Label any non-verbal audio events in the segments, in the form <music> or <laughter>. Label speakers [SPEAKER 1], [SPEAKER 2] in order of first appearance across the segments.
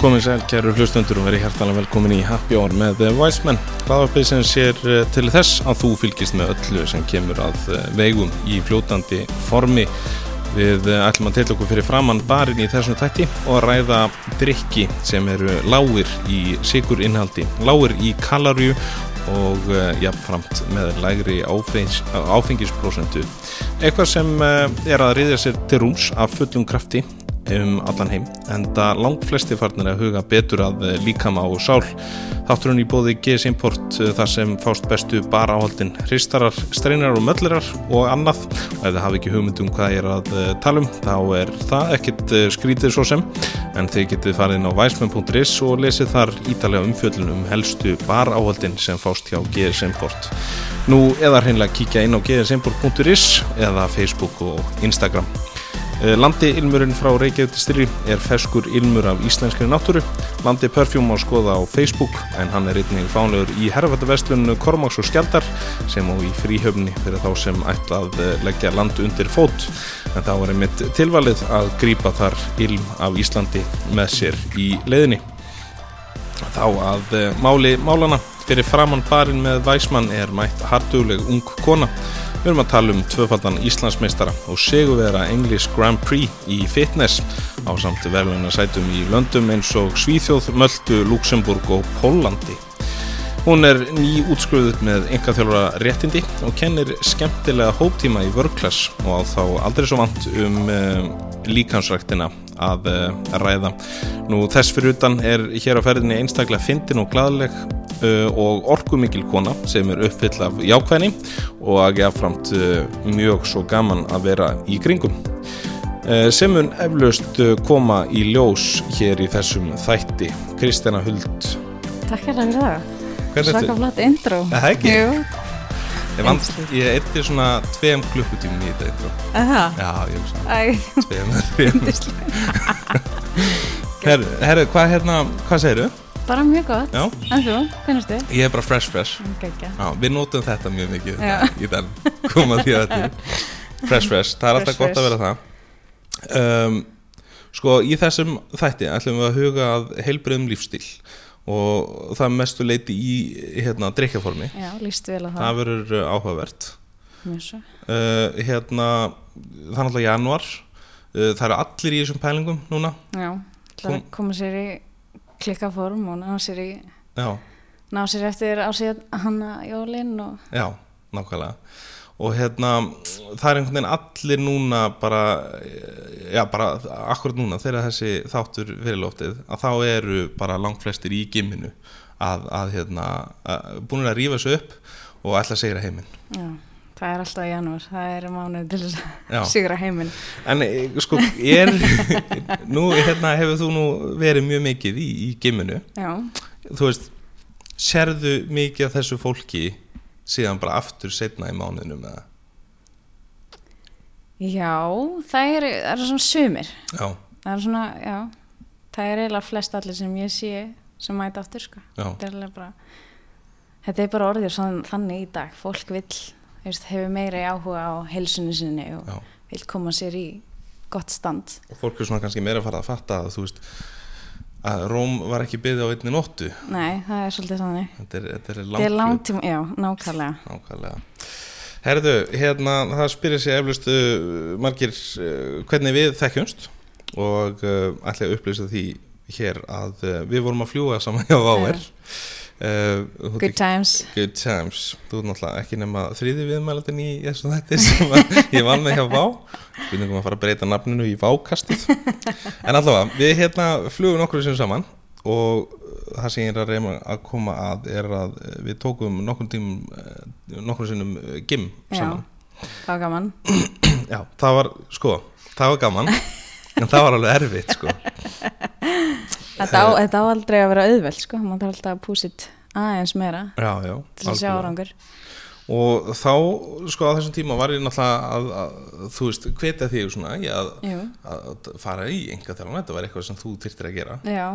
[SPEAKER 1] Komið sæl, kæru hlustundur og verið hjertalega velkomin í Happy Hour með The Wiseman. Hlaðvarpið sem sér eh, til þess að þú fylgist með öllu sem kemur að eh, veigum í fljótandi formi. Við eh, ætlum að tella okkur fyrir framann barinn í þessum tætti og að ræða drikki sem eru lágir í sigurinhaldi, lágir í kaloríu og eh, jafnframt með lægri áfengis, áfengisprósentu. Eitthvað sem eh, er að riðja sér til rúms af fullum krafti um allan heim en það langt flesti farnir að huga betur að eh, líkama og sál þátturinn í bóði GS Import eh, þar sem fást bestu bara áhaldin hristarar, streinar og möllirar og annað og ef þið hafi ekki hugmynd um hvað ég er að eh, tala um þá er það ekkit eh, skrítið svo sem en þið getið farið inn á weisman.is og lesið þar ítalega umfjöllun um helstu bara áhaldin sem fást hjá GS Import nú eða hreinlega kíkja inn á gsimport.is eða Facebook og Instagram Eh, Landi ilmurinn frá Reykjavík til Styrri er ferskur ilmur af íslenskri náttúru. Landi Perfume má skoða á Facebook en hann er einnig fánlegur í herrfættaversluninu Kormáks og Skjaldar sem og í fríhöfni fyrir þá sem ætla að eh, leggja land undir fót. En þá er einmitt tilvalið að grípa þar ilm af Íslandi með sér í leiðinni. Þá að eh, máli málana fyrir framann barinn með Væsmann er mætt hardugleg ung kona. Við erum að tala um tvöfaldan Íslandsmeistara og seguvera English Grand Prix í fitness á samt verðlunarsætum í löndum eins og Svíþjóð, Möldu, Luxemburg og Pólandi. Hún er nýútskruðuð með einkaþjálfara réttindi og kennir skemmtilega hóptíma í vörklass og á þá aldrei svo vant um uh, líkansræktina að uh, ræða. Nú þess fyrir utan er hér á ferðinni einstaklega fyndin og glæðleg uh, og orkumikil kona sem er uppfyll af jákvæðni og að geframt uh, mjög svo gaman að vera í kringum eh, sem mun eflaust eh, koma í ljós hér í þessum þætti Kristjana Huld
[SPEAKER 2] Takk hérna fyrir það.
[SPEAKER 1] Hvernig ertu?
[SPEAKER 2] Svaka flott intro.
[SPEAKER 1] Er það ekki?
[SPEAKER 2] Jú,
[SPEAKER 1] Ég, vant,
[SPEAKER 2] Einslið.
[SPEAKER 1] ég eitthi svona tveim klukkutími í þetta
[SPEAKER 2] að það?
[SPEAKER 1] Já, ég hugsa
[SPEAKER 2] Æ,
[SPEAKER 1] <laughs> tveim þreim. Herru, herru, hvað hérna, hvað segirðu?
[SPEAKER 2] bara mjög gott.
[SPEAKER 1] Já.
[SPEAKER 2] En þú, hvernig ertu?
[SPEAKER 1] Ég er bara fresh fresh
[SPEAKER 2] Gækja.
[SPEAKER 1] Já, við notum þetta mjög mikið
[SPEAKER 2] Já.
[SPEAKER 1] í þann koma því að þetta
[SPEAKER 2] <laughs>
[SPEAKER 1] fresh fresh, það er alltaf
[SPEAKER 2] Fresh,
[SPEAKER 1] gott að
[SPEAKER 2] fresh.
[SPEAKER 1] vera það um, sko í þessum þætti ætlum við að huga að heilbriðum lífstíl og það mestu leiti í hérna drikkjaformi,
[SPEAKER 2] Já, líst vel á það.
[SPEAKER 1] það verður uh, áhugavert
[SPEAKER 2] Mjög svo.
[SPEAKER 1] uh, hérna það er alltaf januar uh, það eru allir í þessum pælingum núna
[SPEAKER 2] Já, ætlar að koma sér í klikka form og ná sér í,
[SPEAKER 1] já,
[SPEAKER 2] ná sér eftir á sér hanna jólinn og
[SPEAKER 1] já, nákvæmlega og hérna, það er einhvern veginn allir núna bara eh, já, bara akkurat núna þegar þessi þáttur verið lóftið, að þá eru bara langflestir í gimminu að, að hérna, að, búinir að rífa sig upp og ætla að segra heiminn
[SPEAKER 2] já, það er alltaf í janúar. Það er mánuð til þess
[SPEAKER 1] Já.
[SPEAKER 2] að sigra heiminn.
[SPEAKER 1] en eh, sko, er <laughs> nú, hérna, hefur þú nú verið mjög mikið í, í gimminu
[SPEAKER 2] Já,
[SPEAKER 1] þú veist, sérðu mikið af þessu fólki síðan bara aftur setna í mánuðinu með það
[SPEAKER 2] já, það eru, það eru svona sumir.
[SPEAKER 1] já,
[SPEAKER 2] Það eru svona, já, það er eiginlega flest allir sem ég sé sem mæta aftur, sko.
[SPEAKER 1] Já.
[SPEAKER 2] Þetta er alveg bara, þetta er bara orðið sann, þannig í dag. Fólk vill, þú veist, hefur meira í áhuga á heilsunni sinni og
[SPEAKER 1] já
[SPEAKER 2] vill koma sér í gott stand.
[SPEAKER 1] og fólk er svona kannski meira að fara að fatta að þú veist að Róm var ekki byggði á einni nóttu
[SPEAKER 2] Nei, það er svolítið þannig.
[SPEAKER 1] þetta er, þetta er
[SPEAKER 2] Þetta er
[SPEAKER 1] langt
[SPEAKER 2] langtíma, já, nákvæmlega.
[SPEAKER 1] nákvæmlega Herðu, hérna, það spyrir sig eflust uh, margir uh, hvernig við þekkjumst og uh, ætla að upplýsa því hér að uh, við vorum að fljúga saman hjá Váver uh,
[SPEAKER 2] Good times.
[SPEAKER 1] Good times, þú er náttúrulega ekki nema þriði viðmælandin í þessum þætti sem að ég vann með hjá Vá spurningum að fara að breyta nafninu í Vákastið en allavega, við hérna flugum nokkur sem saman og uh, það sem ég er að reyna að koma að er að eh, við tókum nokkur tímum eh, nokkur sinnum eh, gym
[SPEAKER 2] Já,
[SPEAKER 1] saman
[SPEAKER 2] það var gaman.
[SPEAKER 1] Já, það var, sko, það var gaman en það var alveg erfitt, sko
[SPEAKER 2] Þetta
[SPEAKER 1] Eh.
[SPEAKER 2] á, þetta á aldrei að vera auðveld, sko. Man þarf alltaf að púsit aðeins meira
[SPEAKER 1] Já, já,
[SPEAKER 2] til að sjá
[SPEAKER 1] algjörlega.
[SPEAKER 2] árangur.
[SPEAKER 1] og þá, sko, á þessum tíma var ég náttúrulega að, að þú veist, hvetja þig svona í að
[SPEAKER 2] Jú,
[SPEAKER 1] að fara í enga þjálfum, þetta var eitthvað sem þú þyrtir að gera
[SPEAKER 2] já,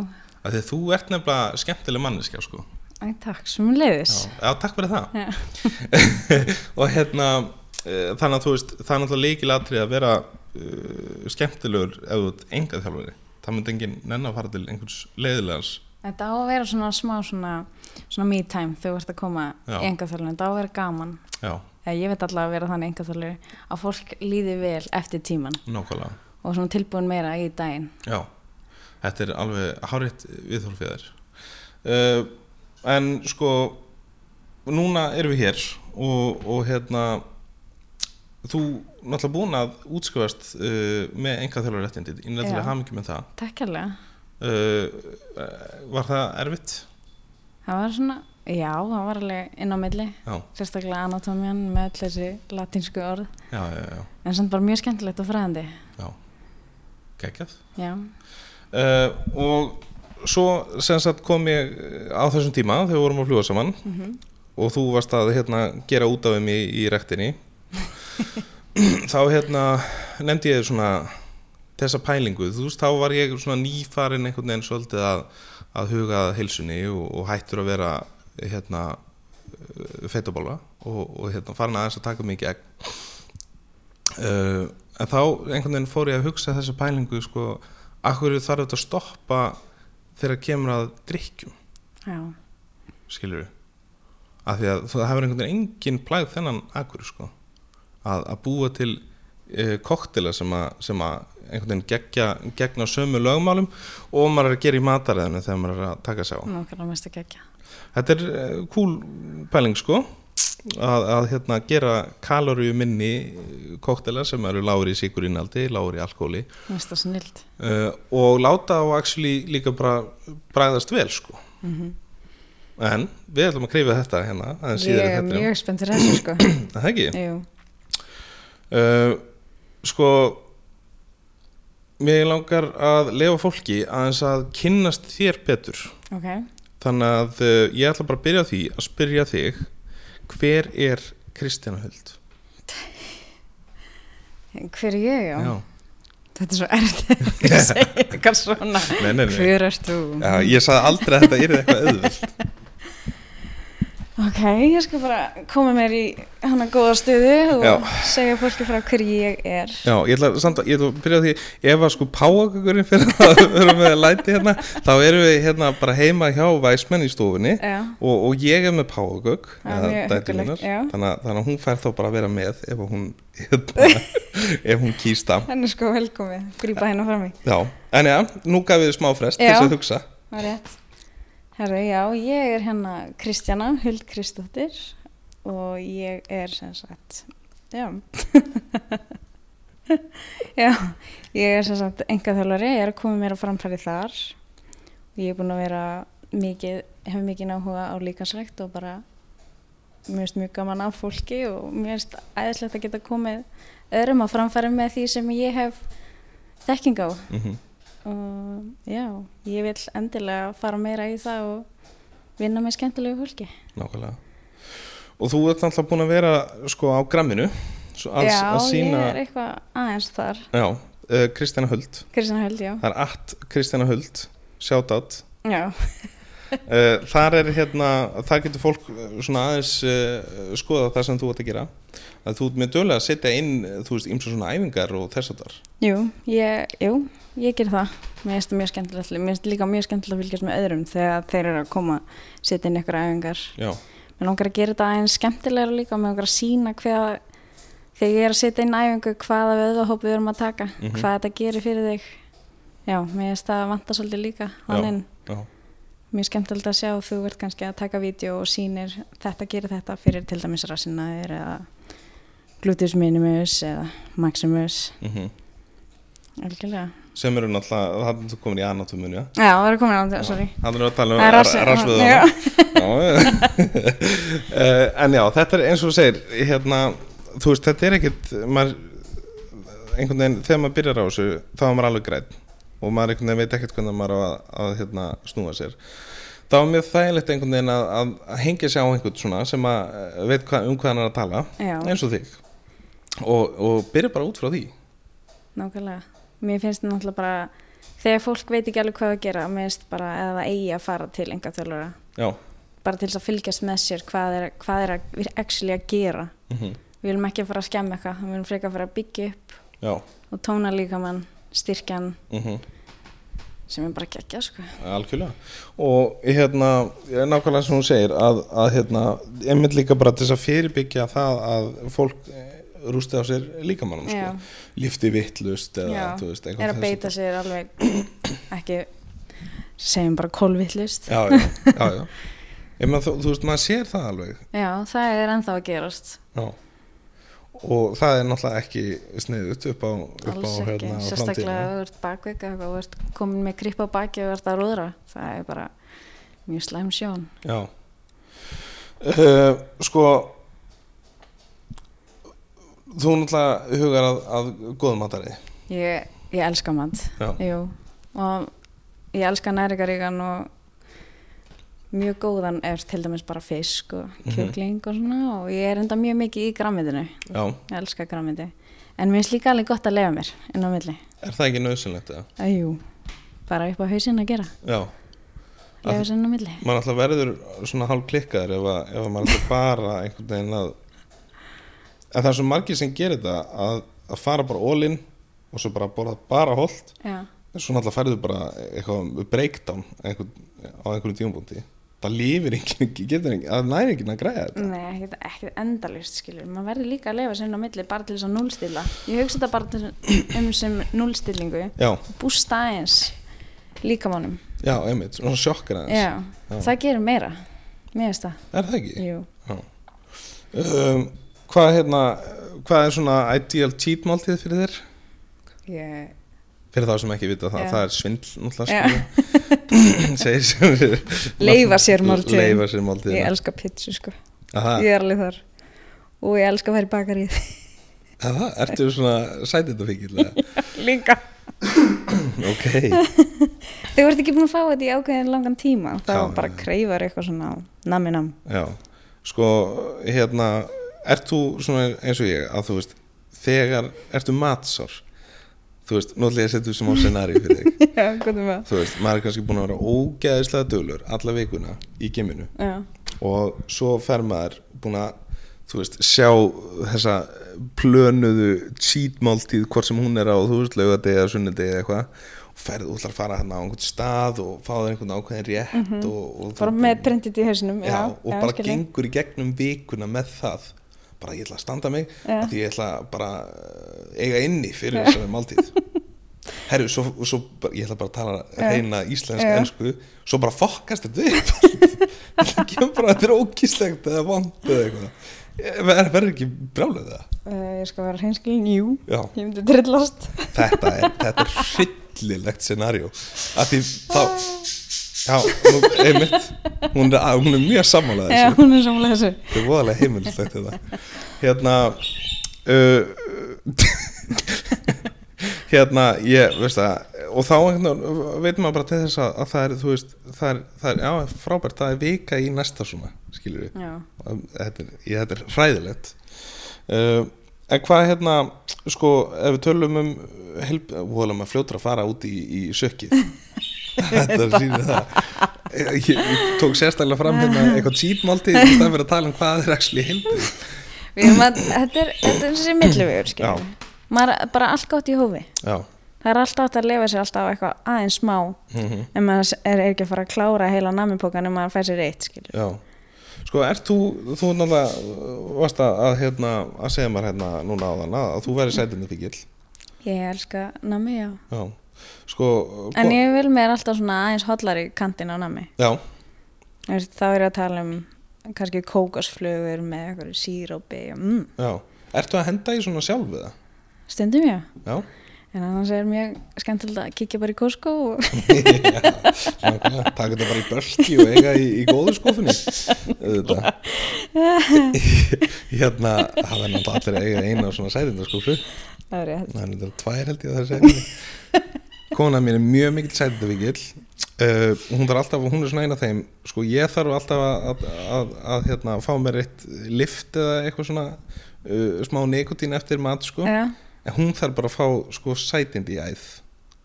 [SPEAKER 1] af því að þú ert nefnilega skemmtileg manneskja sko.
[SPEAKER 2] Æ, takk, sem leiðis.
[SPEAKER 1] já, já, takk fyrir það
[SPEAKER 2] Já.
[SPEAKER 1] <laughs> og hérna eh, eh, þannig að þú veist, það er náttúrulega leikilatri að vera uh, skemmtilegur ef þú ert enga þjálfari það myndi enginn nenn að fara til einhvers leiðilegans
[SPEAKER 2] Þetta á að vera svona smá svona, svona me time þegar þú ert að koma
[SPEAKER 1] Já.
[SPEAKER 2] í engaþjálfur. Þetta á að vera gaman.
[SPEAKER 1] já,
[SPEAKER 2] Eða, ég veit allavega að vera þannig engaþjálfur að fólk líði vel eftir tíman
[SPEAKER 1] nákvæmlega
[SPEAKER 2] og svona tilbúin meira í daginn.
[SPEAKER 1] Já, þetta er alveg hárétt viðhorfið þér uh, En sko núna erum við hér og, og hérna þú náttúrulega búin að útskrifast uh, með enga þjálfurréttindi ég náttúrulega
[SPEAKER 2] Já.
[SPEAKER 1] hamingi með það
[SPEAKER 2] Takk hérlega.
[SPEAKER 1] uh, uh, Var það erfitt?
[SPEAKER 2] Það var svona, já, það var alveg inn á milli.
[SPEAKER 1] Já,
[SPEAKER 2] Sérstaklega anatómian með öll þessi latínsku orð.
[SPEAKER 1] já, já, já,
[SPEAKER 2] En samt bara mjög skemmtilegt og fræðandi.
[SPEAKER 1] geggjað
[SPEAKER 2] Já,
[SPEAKER 1] uh, Og svo sem sagt kom ég eh, á þessum tíma þegar við vorum að fljúa saman
[SPEAKER 2] mm
[SPEAKER 1] og þú varst að hérna, gera út af þeim í, í rektinni þá hérna nefndi ég svona þessa pælingu, þú veist, þá var ég svona nýfarin einhvern veginn svolítið að, að huga að heilsunni og, og hættur að vera hérna feitabóla og, og hérna farin aðeins að taka mikið egg uh, en þá einhvern veginn fór ég að hugsa þessa pælingu sko, akkur þarf þetta að stoppa þegar kemur að drikkjum
[SPEAKER 2] já,
[SPEAKER 1] skilur við af því að það hefur einhvern veginn engin plæð þennan akkur sko að, að búa til uh, koktela sem að, sem að einhvern veginn gegja, gegna sömu lögmálum og maður er að gera í mataræðinu þegar maður er að taka sér á
[SPEAKER 2] nákvæmlega mest ekki ekki.
[SPEAKER 1] þetta er kúl pæling sko að, að hérna gera kaloríu minni koktela sem eru lágur í sikurinaldi, lágur í alkóli
[SPEAKER 2] Mest það snild.
[SPEAKER 1] uh, og láta á actually líka bara bræðast vel sko
[SPEAKER 2] Mhm.
[SPEAKER 1] en við ætlum að krifja þetta hérna aðeins
[SPEAKER 2] Ég
[SPEAKER 1] síðar í
[SPEAKER 2] er
[SPEAKER 1] þættinum.
[SPEAKER 2] mjög spennt fyrir þessu sko.
[SPEAKER 1] Er Það ekki?
[SPEAKER 2] Jú,
[SPEAKER 1] Uh, sko, mér langar að lefa fólki aðeins að kynnast þér betur.
[SPEAKER 2] ok.
[SPEAKER 1] Þannig að uh, ég ætla bara að byrja á því að spyrja þig, hver er Kristjana Huld?
[SPEAKER 2] Hver er ég? Já. Þetta er svo erfið að segja eitthvað svona.
[SPEAKER 1] Nei, nei, nei.
[SPEAKER 2] Hver ert þú?
[SPEAKER 1] Já, ég sagði aldrei að þetta yrði eitthvað auðvöld.
[SPEAKER 2] Ok, ég skal bara koma mér í hana góða stuðu og
[SPEAKER 1] Já.
[SPEAKER 2] segja fólki frá hver ég er.
[SPEAKER 1] Já, ég ætla, samt, að- ég ætla að byrja á því, ef að sko páagökurinn fyrir að <laughs> vera með læti hérna, þá erum við hérna bara heima hjá væsmenn í stofunni
[SPEAKER 2] Já,
[SPEAKER 1] og, og ég er með Páagögg
[SPEAKER 2] Já, mjög huggulegt,
[SPEAKER 1] þannig,
[SPEAKER 2] já.
[SPEAKER 1] að- þannig að hún fær þá bara að vera með ef að hún, hérna, <laughs> ef hún kýst það
[SPEAKER 2] hann er sko velkomið. Grípa hérna frá mig.
[SPEAKER 1] já. en já, nú gaf við smá frest
[SPEAKER 2] Já.
[SPEAKER 1] þess að hugsa
[SPEAKER 2] Það er rétt. Herru, já, ég er hérna Kristjana Huld Kristóttir og ég er sem sagt, já, <laughs> já, ég er sem sagt engaþjálfari, ég er að koma mér á framfæri þar og ég er búin að vera mikið, hef mikið náhuga á líkansrækt og bara mér finnst mjög gaman af fólki og mér finnst æðislegt að geta komið öðrum á framfæri með því sem ég hef þekking á
[SPEAKER 1] mm -hmm.
[SPEAKER 2] og já, ég vil endilega fara meira í það og vinna með skemmtilegu fólki
[SPEAKER 1] nákvæmlega og þú ert alltaf búin að vera sko á gramminu svo að,
[SPEAKER 2] já,
[SPEAKER 1] að sína
[SPEAKER 2] ég er eitthvað aðeins þar
[SPEAKER 1] já, uh, Kristjana Huld
[SPEAKER 2] Kristjana Höld, já,
[SPEAKER 1] það er allt Kristjana Huld shoutout
[SPEAKER 2] já.
[SPEAKER 1] Uh, þar er hérna, þar getur fólk uh, svona aðeins uh, skoða það sem þú ert að gera að þú ert með dögulega að setja inn uh, þú veist, ymsa svona æfingar og þess að þar
[SPEAKER 2] Jú, ég, jú, ég ger það mér finnst það mjög skemmtilegt mér finnst líka mjög skemmtilegt að fylgjast með öðrum þegar þeir eru að koma setja inn ykkur æfingar
[SPEAKER 1] Já,
[SPEAKER 2] mér langar að gera þetta aðeins skemmtilegra líka og mér langar að sína hvað þegar ég er að setja inn æfingu hvaða vöðvahóp við erum að taka
[SPEAKER 1] Mhm.
[SPEAKER 2] hvað þetta gerir fyrir þig já, mér finnst það vanta svolítið líka þannig
[SPEAKER 1] já,
[SPEAKER 2] Mjög skemmtilegt að sjá, þú ert kannski að taka vídeo og sýnir þetta gerir þetta fyrir til dæmis rassinaðir eða gluteus minimus eða maximus,
[SPEAKER 1] mm
[SPEAKER 2] algjörlega.
[SPEAKER 1] sem eru náttúrulega, það er þú komin í anatomun, já
[SPEAKER 2] Já, það er komin á þetta, sorry.
[SPEAKER 1] Það er að tala um
[SPEAKER 2] Það er rassi-
[SPEAKER 1] rassvöðana
[SPEAKER 2] Já.
[SPEAKER 1] <laughs> uh, En já, þetta er eins og þú segir hérna, þú veist, þetta er ekkit maður, einhvern veginn þegar maður byrjar á þessu, þá er maður alveg græn og maður einhvern veginn veit ekkert hvernig maður á að, að hérna, snúa sér þá er mjög þægilegt einhvern veginn að, að, að hengja sig á einhvern svona sem að eh, veit hva, um hvað hann er að tala
[SPEAKER 2] Já,
[SPEAKER 1] eins og þig og, og byrja bara út frá því
[SPEAKER 2] nákvæmlega. Mér finnst náttúrulega bara, þegar fólk veit ekki alveg hvað að gera, mér finnst bara að það eigi að fara til enga þjálfara.
[SPEAKER 1] Já,
[SPEAKER 2] Bara til þess að fylgjast með sér hvað er, hvað er að, við erum actually að gera.
[SPEAKER 1] mm
[SPEAKER 2] Við viljum ekki fara að skemma eitthvað, við viljum frekar fara að byggja upp
[SPEAKER 1] já
[SPEAKER 2] og tóna líkamann, styrkjan
[SPEAKER 1] mm
[SPEAKER 2] sem er bara geggja sko.
[SPEAKER 1] Algjörlega og hérna, ég er nákvæmlega sem hún segir að, að hérna, einmitt líka bara til þess að fyrirbyggja það að fólk eh, rústi á sér líkamannum sko.
[SPEAKER 2] Já.
[SPEAKER 1] lifti vittlust eða
[SPEAKER 2] Já,
[SPEAKER 1] þú veist,
[SPEAKER 2] er að
[SPEAKER 1] þess
[SPEAKER 2] beita sér alveg <coughs> ekki segjum bara kolvillist já.
[SPEAKER 1] já, já, já, já. Ég meina, þú, þú veist, maður sér það alveg
[SPEAKER 2] það er ennþá að gerast
[SPEAKER 1] já. og það er náttúrulega ekki sniðut upp á, upp á
[SPEAKER 2] alls ekki,
[SPEAKER 1] hérna,
[SPEAKER 2] sérstaklega ef þú ert bakveika eitthvað, þú ert komin með kripp á baki og þú ert að rúðra, það er bara mjög slæm sjón
[SPEAKER 1] Já uh, Sko Þú náttúrulega hugar að, að góðum matari
[SPEAKER 2] ég, ég elska mat
[SPEAKER 1] Já.
[SPEAKER 2] Jú. og ég elska næringaríkan og mjög góðan er til dæmis bara fisk og
[SPEAKER 1] Mhm.
[SPEAKER 2] kjúkling og svona og ég er enda mjög mikið í grammitinu
[SPEAKER 1] Já,
[SPEAKER 2] ég elska grammiti en mér finnst líka alveg gott að lefa mér inn á milli
[SPEAKER 1] er það ekki nöðsynlegt eða?
[SPEAKER 2] Æjú, bara upp á hausinn að gera
[SPEAKER 1] Já,
[SPEAKER 2] lefa sér inn á milli
[SPEAKER 1] maður alltaf verður svona hálf klikkaður ef, að, ef að maður alltaf bara einhvern veginn að en það er svo margir sem gerir þetta að, að fara bara ólinn og svo bara borða bara holt
[SPEAKER 2] Já.
[SPEAKER 1] en svo náttúrulega færðu bara eitthvað breakdown einhvern, á einhverjum tímabúndi það lífir enginn, getur enginn, það næri enginn að græja þetta
[SPEAKER 2] Nei, ekkert, ekkert endalist skilur maður verður líka að lefa sér inn á milli bara til þess að núlstilla ég hugsa þetta bara til- um sem núlstillingu
[SPEAKER 1] Já,
[SPEAKER 2] bústa aðeins líkamannum
[SPEAKER 1] Já, einmitt, svona sjokkar aðeins
[SPEAKER 2] Já, það gerir meira Mér finnst það
[SPEAKER 1] Er það ekki?
[SPEAKER 2] Jú.
[SPEAKER 1] Já. Um, hvað, hérna, hvað er svona ideal cheat máltíð fyrir þér?
[SPEAKER 2] Ég,
[SPEAKER 1] Fyrir þá sem ekki vita það,
[SPEAKER 2] Já.
[SPEAKER 1] það er svindl
[SPEAKER 2] Já.
[SPEAKER 1] náttúrulega skilur.
[SPEAKER 2] <laughs>
[SPEAKER 1] Segir sem við
[SPEAKER 2] Leyfa sér máltíðina.
[SPEAKER 1] Leifa sér máltíð
[SPEAKER 2] ég elska pitsu sko
[SPEAKER 1] Það,
[SPEAKER 2] Ég er alveg þar Og ég elska að vera í bakarið
[SPEAKER 1] það, ertu svona
[SPEAKER 2] <laughs>
[SPEAKER 1] sætindafíkilega
[SPEAKER 2] <laughs> Líka
[SPEAKER 1] Ok,
[SPEAKER 2] Þau vart ekki búin að fá þetta í ákveðin langan tíma Þá
[SPEAKER 1] Já,
[SPEAKER 2] bara
[SPEAKER 1] já.
[SPEAKER 2] kreifar eitthvað svona <laughs> Naminam
[SPEAKER 1] já Sko, hérna, ert þú svona eins og ég að þú veist Þegar, ertu matsár Þú veist, náttúrulega ég setjum sem á scenari fyrir þig
[SPEAKER 2] Já, hvað er maður
[SPEAKER 1] þú veist, maður er kannski búin að vera ógeðislega dölur alla vikuna í geminu
[SPEAKER 2] Já,
[SPEAKER 1] og svo fer maður búin að þú veist, sjá þessa plönuðu cheat máltíð hvort sem hún er á, þú veist, laugadegi eða sunnudegi eða eitthvað og ferðu út að fara hérna á einhvern stað og fá þér einhvern ákveðin rétt og, og
[SPEAKER 2] Mhm. bara
[SPEAKER 1] þú-
[SPEAKER 2] með printið í hausinum
[SPEAKER 1] já, og bara
[SPEAKER 2] skil ég.
[SPEAKER 1] gengur í gegnum vikuna með það bara ég ætla að standa mig
[SPEAKER 2] Já.
[SPEAKER 1] að því ég ætla bara uh, eiga inni fyrir þessari
[SPEAKER 2] <laughs>
[SPEAKER 1] máltíð herru, svo, svo bara- ég ætla bara að tala reyna íslensk,
[SPEAKER 2] Já.
[SPEAKER 1] ensku svo bara fokkast þetta upp það kemur bara að <laughs> þetta er ókíslegt eða vond eða eitthvað Ég- ver- verður ekki brjálið það
[SPEAKER 2] Eh, Ég skal vera hreinskilin, jú
[SPEAKER 1] Já.
[SPEAKER 2] Ég myndi trillast
[SPEAKER 1] þetta er, þetta er hryllilegt scenarió að því þá já, nú, einmitt hún er, hún er mjög sammálaðið
[SPEAKER 2] Já, hún er samlega þessu
[SPEAKER 1] Þetta er voðalega heimilislegt þetta Hérna uh, <laughs> Hérna, ég, veist það Og þá einhvern veginn, veit maður bara til þess að, að það er, þú veist, það er, það er, já, frábært, það er vika í næsta svona, skilur við
[SPEAKER 2] Já,
[SPEAKER 1] Þetta er, ég, þetta er hræðilegt uh, En hvað, hérna, sko, ef við tölum um helb, voðalega maður fljótur að fara út í, í
[SPEAKER 2] <laughs>
[SPEAKER 1] sökkið Þetta sýnir það Eh, Ég, ég tók sérstaklega fram hérna eitthvað cheatmáltíð í stað fyrir að tala um hvað er actually heilbrið
[SPEAKER 2] við erum að, þetta er, þetta er þessi millivegur,
[SPEAKER 1] Já.
[SPEAKER 2] skiljum Maður er bara allt gott í hófi
[SPEAKER 1] Já,
[SPEAKER 2] Það er alltaf hægt að lefa sér alltaf eitthvað aðeins smá
[SPEAKER 1] Mhm.
[SPEAKER 2] en maður er ekki að fara að klára heila namipókan en maður fær sér eitt, skiljum
[SPEAKER 1] já Sko, ert þú, þú náttúrulega uh, varst að, að, hérna, að segja mér hérna núna á þann að þú verið sætinni fíkil
[SPEAKER 2] Ég elska nami, já
[SPEAKER 1] Já, sko
[SPEAKER 2] En
[SPEAKER 1] ko-
[SPEAKER 2] ég vil mér alltaf svona aðeins hollari kantinn á nami
[SPEAKER 1] Já,
[SPEAKER 2] Þú veist, Þá er ég að tala um kannski kókosflögur með eitthvað sírópi og mm,
[SPEAKER 1] já Ertu að henda í svona sjálf við það?
[SPEAKER 2] stundum já
[SPEAKER 1] Já
[SPEAKER 2] En annars er mjög skemmtilegt að kíkja bara í Costco og
[SPEAKER 1] Nákvæmlega, taka þetta bara í börki og eiga í, í góðu skófinni Þetta <laughs> Hérna, það er náttúrulega allir að eiga eina svona sætindaskófu
[SPEAKER 2] það er rétt.
[SPEAKER 1] Það er þetta tvær held ég að það er sætindaskófu Kona mín er mjög mikill sætindavíkil uh, Hún þarf alltaf, hún er svona eina þeim Sko, ég þarf alltaf að, að, að, að hérna, fá mér eitt lift eða eitthvað svona uh, smá nikotín eftir mat, sko
[SPEAKER 2] Já,
[SPEAKER 1] En hún þarf bara að fá, sko, sætind í æð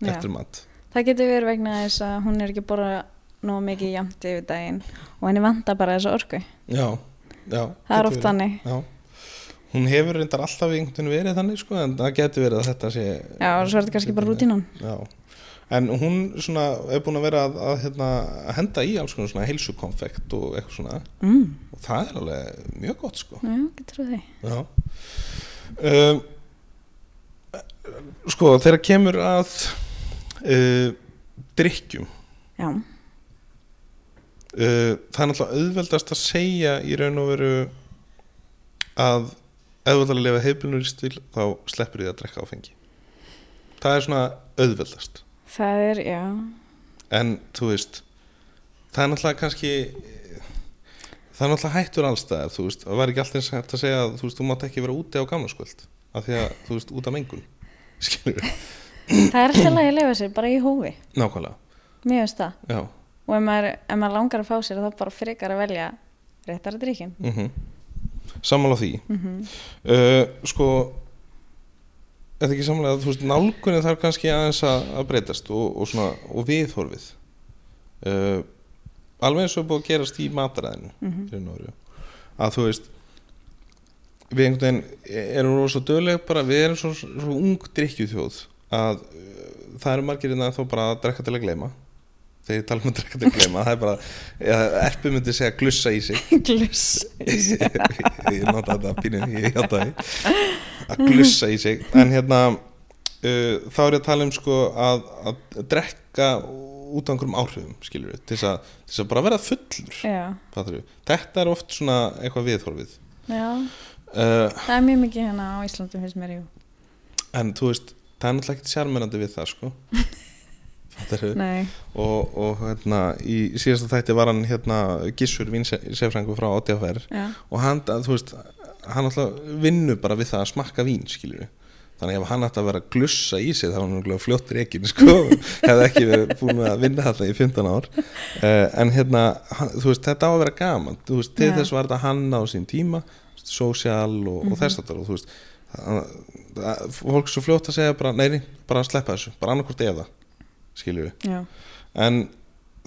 [SPEAKER 2] Já.
[SPEAKER 1] eftir mat
[SPEAKER 2] það getur verið vegna þess að hún er ekki að borða nóg mikið jamt yfir daginn og henni vantar bara þessa orku.
[SPEAKER 1] Já, já
[SPEAKER 2] Það er
[SPEAKER 1] getur
[SPEAKER 2] oft
[SPEAKER 1] verið.
[SPEAKER 2] þannig.
[SPEAKER 1] Já Hún hefur reyndar alltaf einhvern veginn verið þannig sko en það getur verið að þetta sé
[SPEAKER 2] Já, og svo er þetta kannski bara rútínan.
[SPEAKER 1] Já, En hún svona er búin að vera að, að, hérna, að henda í alls konar svona heilsukonfekt og eitthvað svona
[SPEAKER 2] mm,
[SPEAKER 1] og það er alveg mjög gott sko.
[SPEAKER 2] já, getur þú því
[SPEAKER 1] Já. Um, sko þegar kemur að uh, drikkjum
[SPEAKER 2] já,
[SPEAKER 1] uh, það er náttúrulega auðveldast að segja í raun og veru að ef þú ætlar að lifa heilbunur stíl þá sleppur því að drekka áfengi það er svona auðveldast
[SPEAKER 2] það er, já
[SPEAKER 1] en þú veist það er náttúrulega kannski eh, það er náttúrulega hættur allstæðar þú veist, það var ekki alltaf eins hægt að segja að, þú veist, þú mátt ekki vera úti á gamlaskvöld af því að, þú veist, út af mengun skilur við,
[SPEAKER 2] það er alltaf að ég lifa sér bara í hófi
[SPEAKER 1] nákvæmlega
[SPEAKER 2] mjög veist það
[SPEAKER 1] já,
[SPEAKER 2] og ef maður, ef maður langar að fá sér þá bara frekar að velja réttara drikkin
[SPEAKER 1] mhm sammála því
[SPEAKER 2] mm
[SPEAKER 1] uh, sko er það ekki samlega að þú veist nálgunni þarf kannski aðeins að, að breytast og, og, svona, og viðhorfið uh, alveg eins og er búið að gerast í matræðinu
[SPEAKER 2] Mhm.
[SPEAKER 1] í raun og veru. að þú veist við einhvern veginn erum rosa dögleg bara við erum svo, svo ung drikkjuþjóð að uh, það eru margir innan þá bara að drekka til að gleyma þegar ég tala um að drekka til að gleyma það er bara, ja, erpi myndi segja glussa í sig
[SPEAKER 2] gluss
[SPEAKER 1] ég nota þetta pínu ég hjáta því að glussa í sig en hérna uh, þá er ég að tala um sko að, að drekka út af einhverjum áhrifum skilur við, til þess að, til þess að bara vera fullur
[SPEAKER 2] já,
[SPEAKER 1] fattar við, þetta er oft svona eitthvað viðhorfið
[SPEAKER 2] já,
[SPEAKER 1] uh,
[SPEAKER 2] það er mjög mikið hérna á Íslandi finnst mér, jú
[SPEAKER 1] en þú veist, það er náttúrulega ekkert sjarmerandi við það sko fattar við
[SPEAKER 2] nei,
[SPEAKER 1] og, og hérna, í síðasta þætti var hann hérna Gissur Vinsefrængu frá OTFR
[SPEAKER 2] já,
[SPEAKER 1] og hann, að, þú veist, hann alltaf vinnur bara við það að smakka vín, skilur þannig ef hann ætti að vera að glussa í sig þá var hann örugglega fljótt reikin, <laughs> sko hefði ekki verið búin með að vinna þetta í 15 ár uh, en hérna, hann, þú veist, þetta á að vera gaman, þú veist, til
[SPEAKER 2] Já.
[SPEAKER 1] þess var þetta hann á sín tíma, sósjál og, og þess að og þú veist að- að- fólk svo fljótt að segja bara neini, bara að sleppa þessu, bara annarkvort eða skilur
[SPEAKER 2] já
[SPEAKER 1] en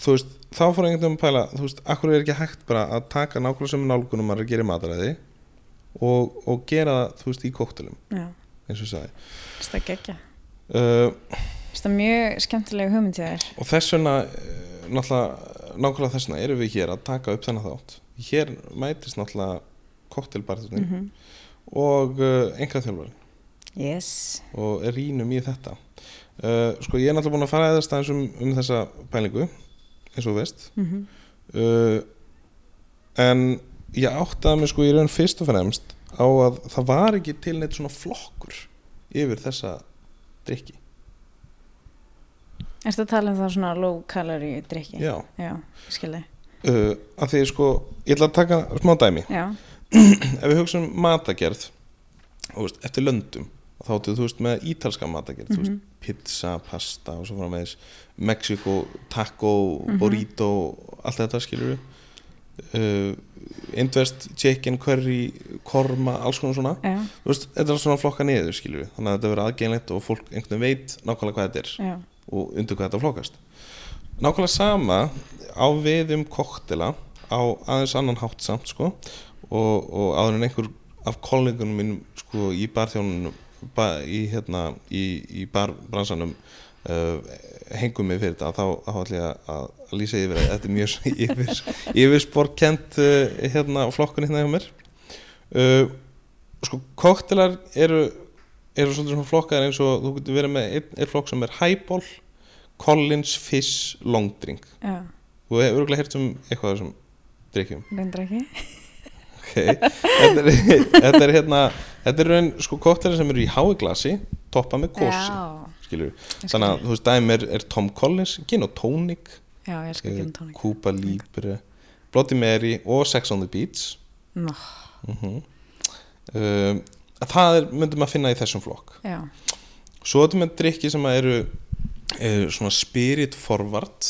[SPEAKER 1] þú veist, þá fór einhvern veginn að pæla þú veist, akkur er ekki hægt bara að taka nákvæmlega sem nálgunum maður er að gera í mataræði og, og gera það, þú veist, í kóktelum
[SPEAKER 2] já,
[SPEAKER 1] eins og ég sagði
[SPEAKER 2] finnst það geggja
[SPEAKER 1] uh,
[SPEAKER 2] finnst það mjög skemmtilega hugmynd hjá þér
[SPEAKER 1] og þess vegna eh, náttúrulega, nákvæmlega þess vegna erum við hér að taka upp þennan þátt hér mætist náttúrulega kóktelbarðurinn
[SPEAKER 2] mhm
[SPEAKER 1] og uh, enga þjálfari
[SPEAKER 2] Yes,
[SPEAKER 1] og rínum í þetta uh, sko, ég er náttúrulega búin að fara eða staðins um, um þessa pælingu eins og þú veist
[SPEAKER 2] mm
[SPEAKER 1] uh, en ég áttaði mig sko í raun fyrst og fremst á að það var ekki til neitt svona flokkur yfir þessa drikki
[SPEAKER 2] ertu að tala um það svona low calorie drikki?
[SPEAKER 1] já,
[SPEAKER 2] Já, ég skil þig.
[SPEAKER 1] uh, að því sko ég ætla að taka smá dæmi <clears throat>
[SPEAKER 2] Já,
[SPEAKER 1] ef við hugsaum matagerð þú veist, eftir löndum þá áttu þú veist með ítalska matagerð þú veist,
[SPEAKER 2] mhm,
[SPEAKER 1] pizza, pasta og svo frá með þess Mexiko, taco,
[SPEAKER 2] Mhm.
[SPEAKER 1] burrito allt þetta skilur við uh, indverst, chicken, curry korma, alls konar svona
[SPEAKER 2] já,
[SPEAKER 1] þú veist, þetta er svona flokka niður skilur við þannig að þetta verður aðgengilegt og fólk einhvern veginn veit nákvæmlega hvað þetta er
[SPEAKER 2] já,
[SPEAKER 1] og undir hvað þetta flokkast nákvæmlega sama á við um koktela á aðeins annan hátt samt sko og, og áður en einhver af kollegunum mínum sko í barþjónunum ba, í hérna í, í barbransanum uh, hengum mig fyrir þetta þá, þá ætlum ég að, að lýsa yfir að þetta er mjög <laughs> svona yfir, yfirsporkent uh, hérna flokkun hérna hjá mér uh, sko koktelar eru eru svolítið svona flokkar eins og þú getur verið með einn ein flokk sem er highball Collins, Fizz, Longdrink
[SPEAKER 2] já,
[SPEAKER 1] þú hefur örgulega heyrt um eitthvað af þessum drikkjum
[SPEAKER 2] reyndra ekki. <laughs>
[SPEAKER 1] okay. þetta, er, þetta er hérna þetta er raun sko koktelar sem eru í hái glasi toppa með kósi
[SPEAKER 2] Já,
[SPEAKER 1] skilur við.
[SPEAKER 2] ég skil
[SPEAKER 1] þannig að
[SPEAKER 2] þig.
[SPEAKER 1] þú veist dæmi er, er Tom Collins, Gin og Tonic
[SPEAKER 2] Já, ég elskar gin og tónik.
[SPEAKER 1] Kúpa Libre Bloody Mary og Sex on the Beach
[SPEAKER 2] Nó,
[SPEAKER 1] mm um, það er, myndum að finna í þessum flokk
[SPEAKER 2] já,
[SPEAKER 1] Svo erum við drikki sem að eru, eru svona spirit forward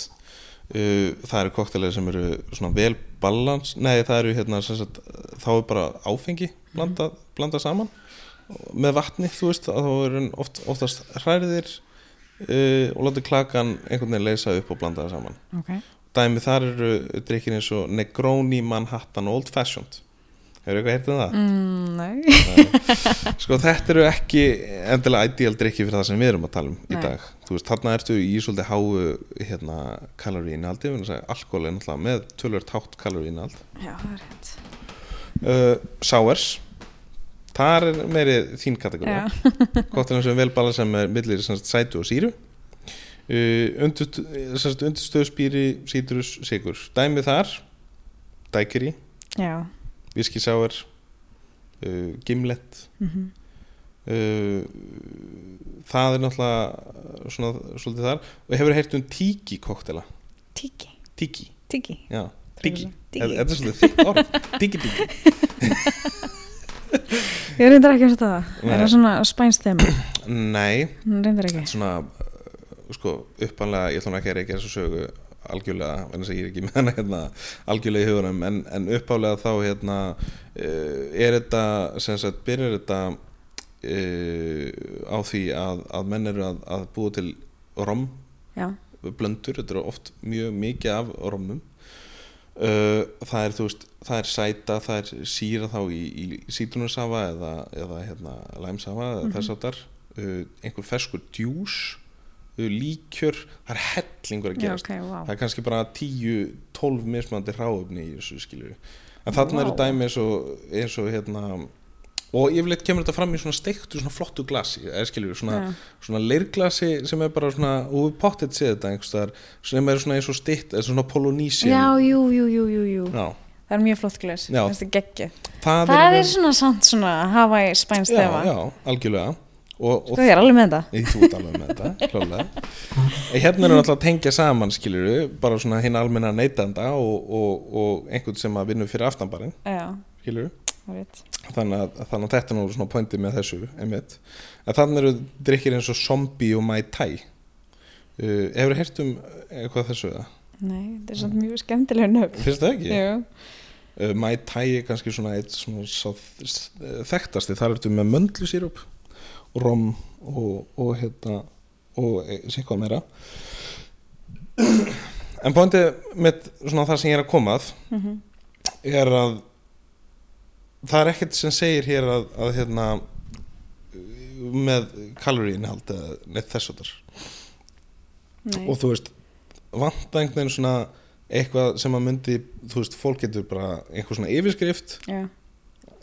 [SPEAKER 1] uh, það eru koktelega sem eru svona vel balans nei það eru hérna sem sagt, þá er bara áfengi blanda, blanda saman með vatni þú veist að þá eru hann oft, oftast hræriðir uh, og láta klakan einhvern veginn leysa upp og blanda það saman
[SPEAKER 2] ok.
[SPEAKER 1] dæmi þar eru drikkin eins og Negroni, Manhattan og Old Fashioned Hefur eitthvað heyrt um það?
[SPEAKER 2] Mm, nei.
[SPEAKER 1] Sko þetta eru ekki endilega ideal drikki fyrir það sem við erum að tala um í
[SPEAKER 2] Nei.
[SPEAKER 1] dag Þú veist, þarna ertu í svolítið háu hérna, kaloríinaldi við erum að segja alkohol er náttúrulega með tölvöld hátt kaloríinald
[SPEAKER 2] Já, það er hægt.
[SPEAKER 1] uh, Sáers þar er meiri þín kategóri
[SPEAKER 2] Já. <laughs>
[SPEAKER 1] Kottirinn sem velbala sem er millir sem sagt, sætu og síru uh, Undurstöðspýri, sítrus, sigur Dæmi þar, dækiri,
[SPEAKER 2] Já.
[SPEAKER 1] viskisáver uh, gimlet
[SPEAKER 2] Mm
[SPEAKER 1] uh, það er náttúrulega svona, svolítið þar og hefur heyrt um tiki koktela
[SPEAKER 2] Tiki.
[SPEAKER 1] tiki,
[SPEAKER 2] Tiki.
[SPEAKER 1] já, tiki
[SPEAKER 2] Tiki.
[SPEAKER 1] þetta er svolítið þitt orð, tiki tiki
[SPEAKER 2] Ég reyndar ekki að setja það.
[SPEAKER 1] Nei.
[SPEAKER 2] Er það svona spænst þeim?
[SPEAKER 1] nei,
[SPEAKER 2] Reyndar ekki.
[SPEAKER 1] svona uh, sko, uppanlega, ég ætla nú ekki að reykja þessu sögu algjörlega, en þess að ég er ekki með hana hérna, algjörlega í hugunum en, en uppálega þá hérna uh, er þetta, sem sagt, byrjar þetta uh, á því að, að menn eru að, að búa til rom
[SPEAKER 2] Já.
[SPEAKER 1] blöndur, þetta eru oft mjög mikið af rómnum uh, það er þú veist, það er sæta það er síra þá í, í sítrunarsafa eða, eða hérna læmsafa
[SPEAKER 2] Mhm.
[SPEAKER 1] eða þess áttar uh, einhver ferskur djús uh, líkjör, það er hellingur að
[SPEAKER 2] Já,
[SPEAKER 1] gerast
[SPEAKER 2] ok, vá.
[SPEAKER 1] það er kannski bara 10-12 mismandi ráöfni í þessu skilju en þarna eru
[SPEAKER 2] Vá.
[SPEAKER 1] dæmi eins og, eins og hérna og yfirleitt kemur þetta fram í svona steiktu svona flottu glasi, eða skilju svona,
[SPEAKER 2] Já.
[SPEAKER 1] svona leirglasi sem er bara svona og við pottet séð þetta einhvers staðar sem er svona eins og stitt, eða svona polonísi
[SPEAKER 2] Já, jú, jú, jú, jú, jú.
[SPEAKER 1] já
[SPEAKER 2] Það er mjög flott gles.
[SPEAKER 1] Já.
[SPEAKER 2] Það er geggið.
[SPEAKER 1] það,
[SPEAKER 2] Það er svona samt svona Hawaii spænst
[SPEAKER 1] já,
[SPEAKER 2] þeim.
[SPEAKER 1] já, algjörlega og, og
[SPEAKER 2] Sko ég er alveg með þetta.
[SPEAKER 1] Í þú ert alveg með þetta, klálega Hérna eru náttúrulega að tengja saman, skilur bara svona hinn almenna neytanda og, og, og einhvern sem að vinna fyrir aftanbarinn,
[SPEAKER 2] Já,
[SPEAKER 1] skilur
[SPEAKER 2] það er rétt.
[SPEAKER 1] þannig að, þannig að þetta er nú svona pointið með þessu einmitt. en þannig eru drikkir eins og zombie og mai tai uh, hefur þú heyrt um eitthvað þessu eða?
[SPEAKER 2] Nei, þetta er samt mjög skemmtilega nöfn.
[SPEAKER 1] finnst það ekki?
[SPEAKER 2] Jú.
[SPEAKER 1] Uh, mai tai er kannski svona eitt svona sá, s- þekktasti, þar ertu með möndlu sírup og rom og, og hérna og e, sikvað meira en pointið mitt svona það sem ég er að koma að
[SPEAKER 2] Mhm.
[SPEAKER 1] er að það er ekkert sem segir hér að, að hérna með kaloríinhald eða neitt þess að
[SPEAKER 2] Nei.
[SPEAKER 1] og þú veist vanta einhvern veginn svona eitthvað sem að myndi, þú veist, fólk getur bara einhver svona yfirskrift
[SPEAKER 2] Já,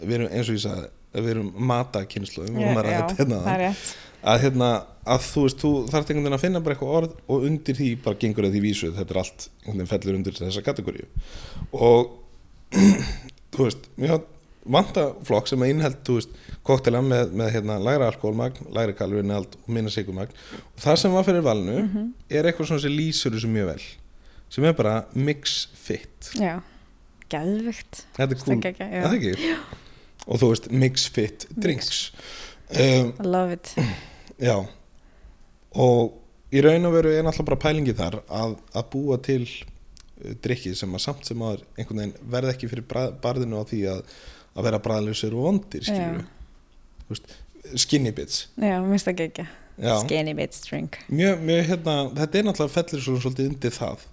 [SPEAKER 1] við erum eins og ég sagði, við erum matakynslu, við
[SPEAKER 2] já,
[SPEAKER 1] erum að
[SPEAKER 2] já,
[SPEAKER 1] ræða hérna,
[SPEAKER 2] það er rétt.
[SPEAKER 1] að hérna að þú veist, þú þarft einhvern veginn að finna bara eitthvað orð og undir því bara gengur að því vísu þetta er allt, einhvern veginn fellur undir þessa kategoríu og <clears throat> þú veist, mjög vanta flokk sem að innheld, þú veist, koktela með, með hérna, lægra alkoholmagn, lægra kalorinald og minna sigumagn og það sem var fyrir valinu
[SPEAKER 2] Mhm.
[SPEAKER 1] er eitthvað svona sem lýsur þessu mjög vel, sem er bara mix fit,
[SPEAKER 2] Já, geðvikt.
[SPEAKER 1] þetta er cool
[SPEAKER 2] Stekka ekki,
[SPEAKER 1] Er það
[SPEAKER 2] já.
[SPEAKER 1] ekki? og þú veist, mix fit drinks um,
[SPEAKER 2] I love it.
[SPEAKER 1] já og í raun og veru er náttúrulega bara pælingi þar að, að búa til uh, drikki sem að samt sem að einhvern veginn verð ekki fyrir brað, barðinu á því að, að vera bræðlausir og vondir skilur veist, skinny bits
[SPEAKER 2] Já, mér finnst það geggja.
[SPEAKER 1] já.
[SPEAKER 2] Skinny bitch drink.
[SPEAKER 1] Mjög, mjög, hérna, þetta er náttúrulega fellir svo svolítið undir það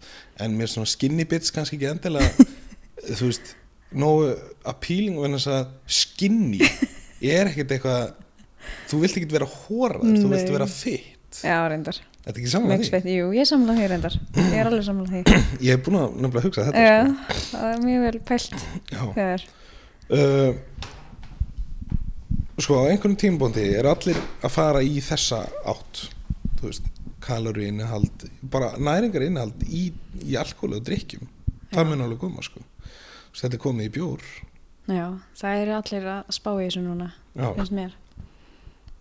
[SPEAKER 1] en mér svona skinny bits kannski ekki endilega <laughs> þú veist, nógu appealing og þess að skinny er ekkert eitthvað þú vilt ekkert vera hórar, þú
[SPEAKER 2] Nei.
[SPEAKER 1] vilt vera fit
[SPEAKER 2] Já, reyndar.
[SPEAKER 1] Þetta er ekki saman
[SPEAKER 2] Mix
[SPEAKER 1] því
[SPEAKER 2] fit, jú, ég samla því reyndar. Ég er alveg samla því.
[SPEAKER 1] Ég er búin að nefnilega hugsa þetta
[SPEAKER 2] Já, það er mjög vel pælt
[SPEAKER 1] sko. Já.
[SPEAKER 2] þegar.
[SPEAKER 1] Uh, Sko, á einhvern tímabóndi er allir að fara í þessa átt þú veist, kaloríinnihald bara næringarinnihald í, í alkohol og drikkjum það mun alveg koma sko Þú veist, þetta er komið í bjór
[SPEAKER 2] Já, það eru allir að spá í þessu núna,
[SPEAKER 1] Já,
[SPEAKER 2] finnst mér.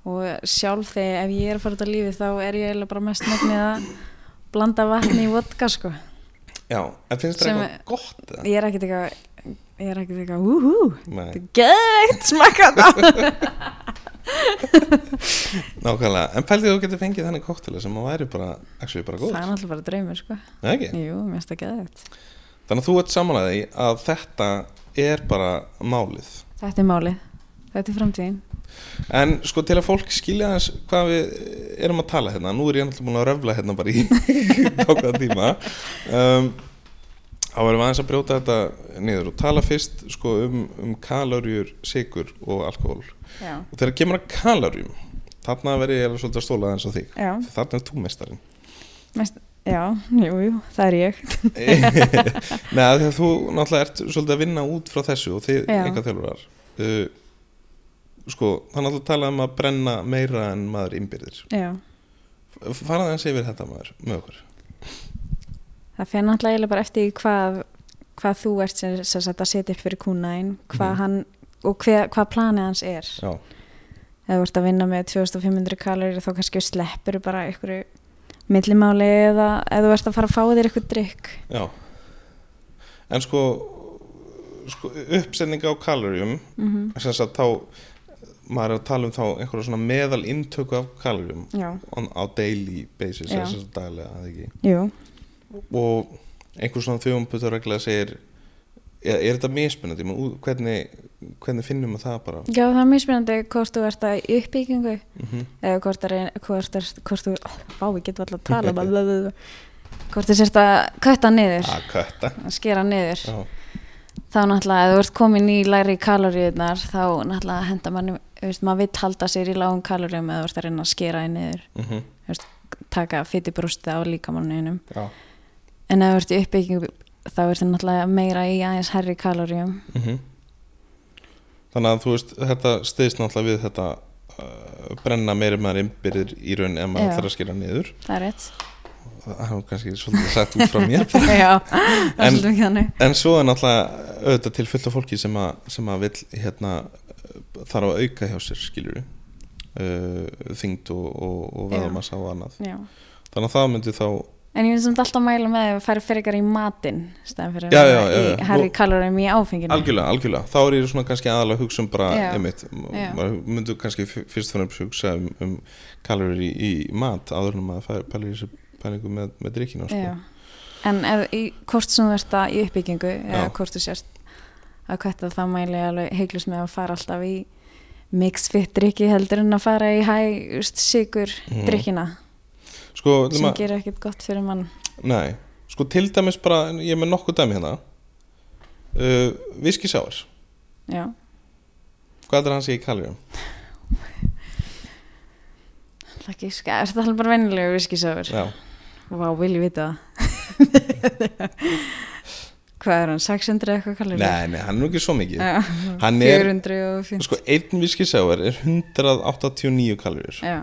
[SPEAKER 2] Og sjálf þegar ef ég er að fara út á lífið þá er ég eiginlega bara mest megnið að blanda vatni í vodka, sko.
[SPEAKER 1] Já. en finnst það
[SPEAKER 2] Sem-
[SPEAKER 1] eitthvað gott eða?
[SPEAKER 2] Ég er ekkert eitthvað, ég er ekkert eitthvað, úhú,
[SPEAKER 1] Nei,
[SPEAKER 2] þetta er geðveikt smakka það.
[SPEAKER 1] nákvæmlega, en pældi þú getur fengið þannig koktela sem að væri bara, actually bara
[SPEAKER 2] Það
[SPEAKER 1] góð
[SPEAKER 2] er náttúrulega bara draumur, sko.
[SPEAKER 1] Nei, ekki?
[SPEAKER 2] Jú, mér finnst það geðveikt.
[SPEAKER 1] Þannig að þú ert samanlega því að þetta er bara málið
[SPEAKER 2] Þetta er málið. Þetta er framtíðin.
[SPEAKER 1] En sko til að fólk skilja aðeins hvað við erum að tala <laughs> hérna Nú er ég náttúrulega búin að röfla hérna bara í ákveða tíma um, Þá erum við aðeins að brjóta þetta niður og tala fyrst sko, um, um kalorjur, sigur og alkohól.
[SPEAKER 2] já,
[SPEAKER 1] Og þegar kemur að kalorjum, þarna verði ég alveg svolítið að stóla aðeins á þig.
[SPEAKER 2] já,
[SPEAKER 1] Þarna er þú mestarinn.
[SPEAKER 2] mest, já, jú, jú, það er ég
[SPEAKER 1] Nei, af því að þú náttúrulega ert svolítið að vinna út frá þessu og þið
[SPEAKER 2] Já.
[SPEAKER 1] enga þjálfurar. Uh, sko, það er náttúrulega að tala um að brenna meira en maður innbyrðir.
[SPEAKER 2] já,
[SPEAKER 1] Faraði eins yfir þetta maður, með okkur.
[SPEAKER 2] það fer náttúrulega eiginlega bara eftir því hvað, hvað þú ert sem, sem sagt að setja upp fyrir kúnaðin hvað
[SPEAKER 1] Mhm.
[SPEAKER 2] hann og hver, hvað planið hans er
[SPEAKER 1] Já,
[SPEAKER 2] ef þú ert að vinna með 2500 kalorir þá kannski sleppur bara einhverju millimáli eða ef þú ert að fara að fá þér eitthvað drikk
[SPEAKER 1] já. En sko, sko uppsendinga á kaloríum
[SPEAKER 2] mm
[SPEAKER 1] sem sagt þá maður er að tala um þá einhverja svona meðal intöku af kaloríum
[SPEAKER 2] já,
[SPEAKER 1] on, á daily basis
[SPEAKER 2] Já.
[SPEAKER 1] eða sem sagt daglega að ekki
[SPEAKER 2] jú,
[SPEAKER 1] og einhver svona þjóðumputurregla segir ja, er þetta mismunandi Men, ú- hvernig, hvernig finnum við það bara
[SPEAKER 2] já það er mismunandi hvort þú ert að í uppbyggingu
[SPEAKER 1] mm -hmm.
[SPEAKER 2] eða hvort, að reyna, hvort, er, hvort þú bá, ég get alltaf að tala bla, bla, bla, bla. hvort þú sért að kötta niður
[SPEAKER 1] að kötta
[SPEAKER 2] að skera niður
[SPEAKER 1] Ah, já,
[SPEAKER 2] þá náttúrulega ef þú ert komin í læri kaloríunar þá náttúrulega henda mann veist, maður vill halda sér í lágum kaloríum eða þú ert að reyna að skera því niður
[SPEAKER 1] mm
[SPEAKER 2] taka fytibrústi á líkamanninum
[SPEAKER 1] já.
[SPEAKER 2] en ef þú ert í uppbyggingu þá ert það náttúrulega meira í aðeins herri kaloríum
[SPEAKER 1] Mm þannig að þú veist þetta stiðst náttúrulega við þetta uh, brenna meiri maður innbyrðir í raun ef maður
[SPEAKER 2] Já.
[SPEAKER 1] þarf að skilja niður
[SPEAKER 2] það er
[SPEAKER 1] <laughs>
[SPEAKER 2] rétt
[SPEAKER 1] það er nú kannski svolítið sagt út frá
[SPEAKER 2] <laughs>
[SPEAKER 1] mér
[SPEAKER 2] já, það er
[SPEAKER 1] En-
[SPEAKER 2] svolítið mikið þannig
[SPEAKER 1] En svo er náttúrulega auðvitað til fullt af fólki sem að, sem að vill hérna, þarf að auka hjá sér skilur uh, þyngd og, og, og veðamassa og annað
[SPEAKER 2] já.
[SPEAKER 1] þannig að það myndi þá
[SPEAKER 2] en ég finnst samt alltaf að mæla með því að fara frekar í matinn stæðan fyrir
[SPEAKER 1] Já,
[SPEAKER 2] að
[SPEAKER 1] já,
[SPEAKER 2] vera
[SPEAKER 1] já, já.
[SPEAKER 2] í herri
[SPEAKER 1] Nú-
[SPEAKER 2] kaloríum í áfenginu
[SPEAKER 1] algjörlega, algjörlega, þá er ég svona kannski aðalega að hugsa um bara
[SPEAKER 2] Já.
[SPEAKER 1] einmitt,
[SPEAKER 2] Já.
[SPEAKER 1] maður myndi kannski f- fyrst fyrir að hugsa um, um kalorir í, í mat áður en maður fær pælir þessu pælingu með, með drikkinu sko.
[SPEAKER 2] Já. en ef, í, hvort sem þú ert að í uppbyggingu eða
[SPEAKER 1] Já.
[SPEAKER 2] hvort þú sért að kvætta þá mæli ég alveg heiklust með að fara alltaf í mix fit drikki heldur en að fara í hæ sigur
[SPEAKER 1] Mhm.
[SPEAKER 2] drikkina
[SPEAKER 1] sko,
[SPEAKER 2] sem
[SPEAKER 1] nema,
[SPEAKER 2] gerir ekkert gott fyrir mann
[SPEAKER 1] nei, sko til dæmis bara, ég er með nokkuð dæmi hérna uh, viskisáar
[SPEAKER 2] já,
[SPEAKER 1] hvað er hans í kalorum?
[SPEAKER 2] það ekki, ska, er þetta alveg bara venjulegu viskisöfur?
[SPEAKER 1] Já
[SPEAKER 2] Vá, vil ég vita
[SPEAKER 1] <laughs>
[SPEAKER 2] það hvað er hann, 600 eitthvað kallir
[SPEAKER 1] Nei, nei, hann er nú ekki svo mikið Hann er,
[SPEAKER 2] 400 og 50
[SPEAKER 1] sko, einn viskisáver er 189 kalorir
[SPEAKER 2] já,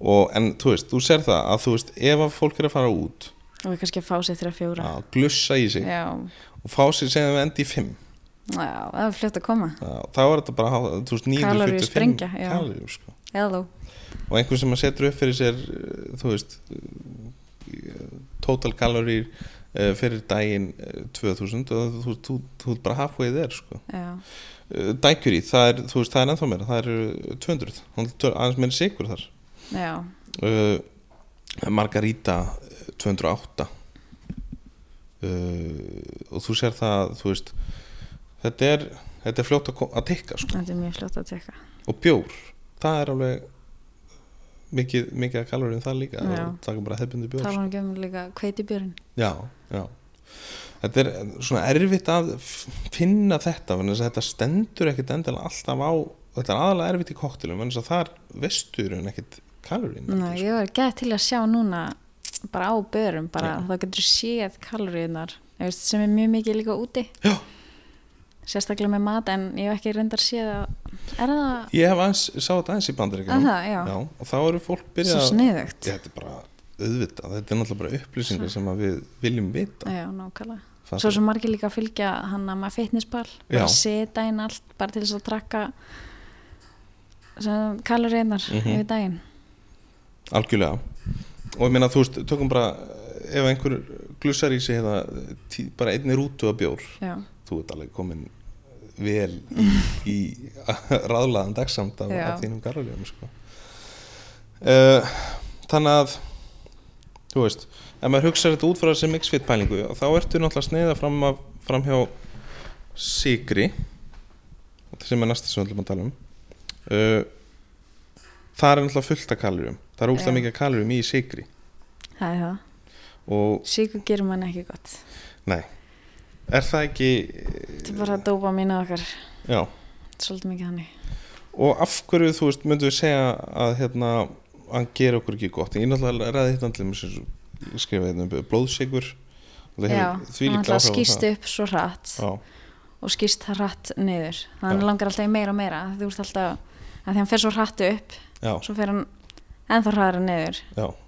[SPEAKER 1] og, En þú veist, þú ser það að þú veist ef að fólk er að fara út
[SPEAKER 2] og kannski að fá sér 3-4
[SPEAKER 1] að glussa í sig
[SPEAKER 2] já,
[SPEAKER 1] og fá sér sem við endi í 5
[SPEAKER 2] já, það er fljótt að koma
[SPEAKER 1] að, þá er þetta bara, há- þú veist, 945
[SPEAKER 2] Kaloríusprengja, já.
[SPEAKER 1] kaloríu sko.
[SPEAKER 2] eða þú
[SPEAKER 1] og einhver sem að setur upp fyrir sér eh, þú veist eh, total kaloríur eh, fyrir daginn eh, 2000 og þú, þú, þú, þú ert bara halfway there sko. Eh,
[SPEAKER 2] Já,
[SPEAKER 1] dækjur í, það er, þú veist, það er ennþá meira það eru 200, Hún er tvö- aðeins meira sigur þar
[SPEAKER 2] já,
[SPEAKER 1] uh, Margarita eh, 208 uh, og þú sér það þú veist, þetta er þetta er fljótt að, ko- að tikka sko.
[SPEAKER 2] þetta er mjög flott að tekka
[SPEAKER 1] og bjór, það er alveg mikið, mikið að kalori um það líka
[SPEAKER 2] Já.
[SPEAKER 1] og taka bara hefbundi bjór
[SPEAKER 2] Tala hann ekki um líka kveitibjörn
[SPEAKER 1] já, já Þetta er eh, svona erfitt að f- finna þetta, vegna þess að þetta stendur ekkit endilega alltaf á, þetta er aðalega erfitt í koktilum, vegna þess að þar vestur en ekkit kalorín.
[SPEAKER 2] Nei, ég var gæð til að sjá núna bara á börum, bara
[SPEAKER 1] Já.
[SPEAKER 2] þá getur séð kaloríunar þú veist, sem er mjög mikið líka úti
[SPEAKER 1] Já.
[SPEAKER 2] sérstaklega með mat en ég hef ekki reyndar séð að er það,
[SPEAKER 1] Ég hef aðeins, sá þetta aðeins í
[SPEAKER 2] að
[SPEAKER 1] bandaríkjum
[SPEAKER 2] það, já,
[SPEAKER 1] og þá eru fólk byrjað
[SPEAKER 2] svo
[SPEAKER 1] að-
[SPEAKER 2] sniðugt
[SPEAKER 1] Ég, Þetta er bara auðvitað, þetta er náttúrulega bara upplýsingar sem að við viljum vita
[SPEAKER 2] Já, nákvæmlega.
[SPEAKER 1] Það
[SPEAKER 2] Svo
[SPEAKER 1] er-
[SPEAKER 2] sem margir líka að fylgja hann að maður fitnesspal, bara
[SPEAKER 1] Já.
[SPEAKER 2] að setja inn allt bara til þess að trakka kaloríunar
[SPEAKER 1] Mhm.
[SPEAKER 2] yfir daginn
[SPEAKER 1] Algjörlega Og ég meina þú veist, tökum bara ef einhver glussar í sig eða tí, bara einni rútu að bjór
[SPEAKER 2] Já,
[SPEAKER 1] þú ert alveg komin vel í, í ráðlaðan dagsamt af,
[SPEAKER 2] Já.
[SPEAKER 1] af þínum garðalegum sko. uh, Þannig að þú veist, ef maður hugsa þetta út frá þessi mixfit pælingu þá ertu náttúrulega að sneiða fram, af, fram hjá sigri sem er næsta sem við ætlum að tala um uh, það er náttúrulega fullt af kalorum það er úrslega
[SPEAKER 2] Já.
[SPEAKER 1] mikið af kalorum í sigri
[SPEAKER 2] það er það
[SPEAKER 1] og
[SPEAKER 2] Sýku gerir mann ekki gott
[SPEAKER 1] Nei, er það ekki
[SPEAKER 2] Þetta er bara að dópa mínu okkar
[SPEAKER 1] já,
[SPEAKER 2] Svolítið mikið þannig
[SPEAKER 1] og af hverju þú veist, myndu við segja að hérna, hann gera okkur ekki gott ég náttúrulega ræði hérna allir mér sem skrifa hérna, blóðsigur og það
[SPEAKER 2] Já,
[SPEAKER 1] hefur því
[SPEAKER 2] hann
[SPEAKER 1] líka
[SPEAKER 2] alltaf skýst upp svo hratt
[SPEAKER 1] já,
[SPEAKER 2] og skýst það hratt niður þannig að hann
[SPEAKER 1] Já.
[SPEAKER 2] langar alltaf í meira og meira þú ert alltaf, að því hann fer svo hratt upp
[SPEAKER 1] já,
[SPEAKER 2] svo fer hann ennþá hraðara niður
[SPEAKER 1] já,
[SPEAKER 2] það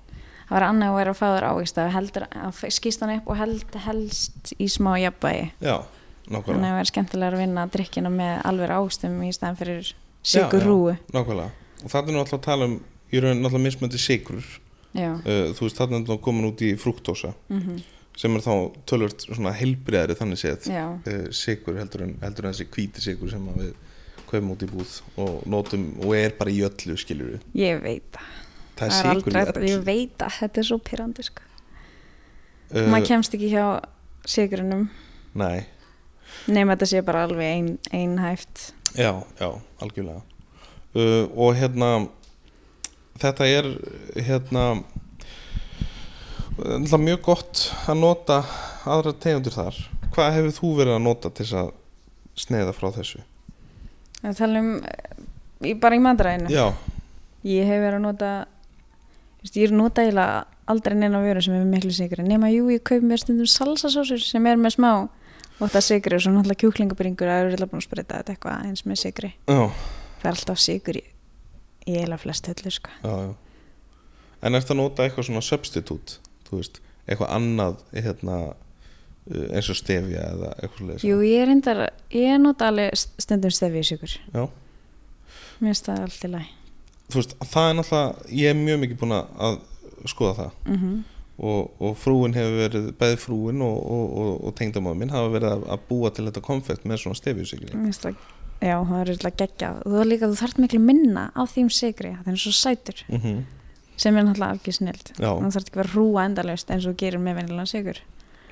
[SPEAKER 2] var annað að vera að fá þér ávist að heldur, að skýst hann upp og held, helst í smá jafnvægi
[SPEAKER 1] já
[SPEAKER 2] þannig
[SPEAKER 1] nákvæmlega,
[SPEAKER 2] að vera skemmtilega að vinna drikkina með alveg ávistum í staðan fyrir sigur rúu
[SPEAKER 1] nákvæmlega. og þarna er náttúrulega að tala um í raun náttúrulega mismöndi sigur
[SPEAKER 2] já,
[SPEAKER 1] uh, þú veist, þarna er náttúrulega komin út í fruktósa
[SPEAKER 2] mhm,
[SPEAKER 1] sem er þá tölvört svona heilbriðari þannig séð
[SPEAKER 2] já,
[SPEAKER 1] uh, sigur heldur en, heldur en þessi hvíti sigur sem að við kaupum út í búð og notum og er bara í öllu skilur við
[SPEAKER 2] ég veit það
[SPEAKER 1] það
[SPEAKER 2] það er
[SPEAKER 1] er sigur í
[SPEAKER 2] aldrei,
[SPEAKER 1] öllu
[SPEAKER 2] ég veit að þetta er svo pyrrandi sko.
[SPEAKER 1] uh,
[SPEAKER 2] maður kemst ekki hjá sigurinnum
[SPEAKER 1] nei,
[SPEAKER 2] nema þetta sé bara alveg ein, einhæft
[SPEAKER 1] já, já, algjörlega uh, og hérna þetta er hérna náttúrulega mjög gott að nota aðra tegundir þar hvað hefur þú verið að nota til þess að sneiða frá þessu?
[SPEAKER 2] að tala um eh, í, bara í matræðinu
[SPEAKER 1] Já,
[SPEAKER 2] ég hef verið að nota veist, ég er nota eiginlega aldrei neina vöru sem er með miklu sigri nema jú, ég kaup mér stundum salsasósur sem er með smá óta sigri og svo náttúrulega kjúklingabringur að eru búin að spreita þetta eitthvað eins með sigri
[SPEAKER 1] já,
[SPEAKER 2] það er alltaf sigri í, í eiginlega flest höllu sko.
[SPEAKER 1] já, já. En ertu að nota eitthvað svona substitute, þú veist, eitthvað annað hérna, uh, eins og stefja eða eitthvað leys?
[SPEAKER 2] jú, ég er reyndar ég nota alveg st- stundum stefið sigur
[SPEAKER 1] Já.
[SPEAKER 2] mér finnst það allt í læg
[SPEAKER 1] Þú veist, það er náttúrulega, ég er mjög mikið búin að að skoða það
[SPEAKER 2] mm
[SPEAKER 1] og, og frúin hefur verið, bæði frúin og, og, og, og tengdamáður minn hafa verið að, að búa til þetta konfekt með svona stefjusikri.
[SPEAKER 2] Mér finnst það, já, það er alltaf geggjað þú, er líka, þú þarft miklu minna á þým sigri það er svo sætur,
[SPEAKER 1] Mm
[SPEAKER 2] sem er náttúrulega algjör snild
[SPEAKER 1] Já,
[SPEAKER 2] þú þarft ekki að vera hrúa endalaust eins og þú gerir með venilega sigur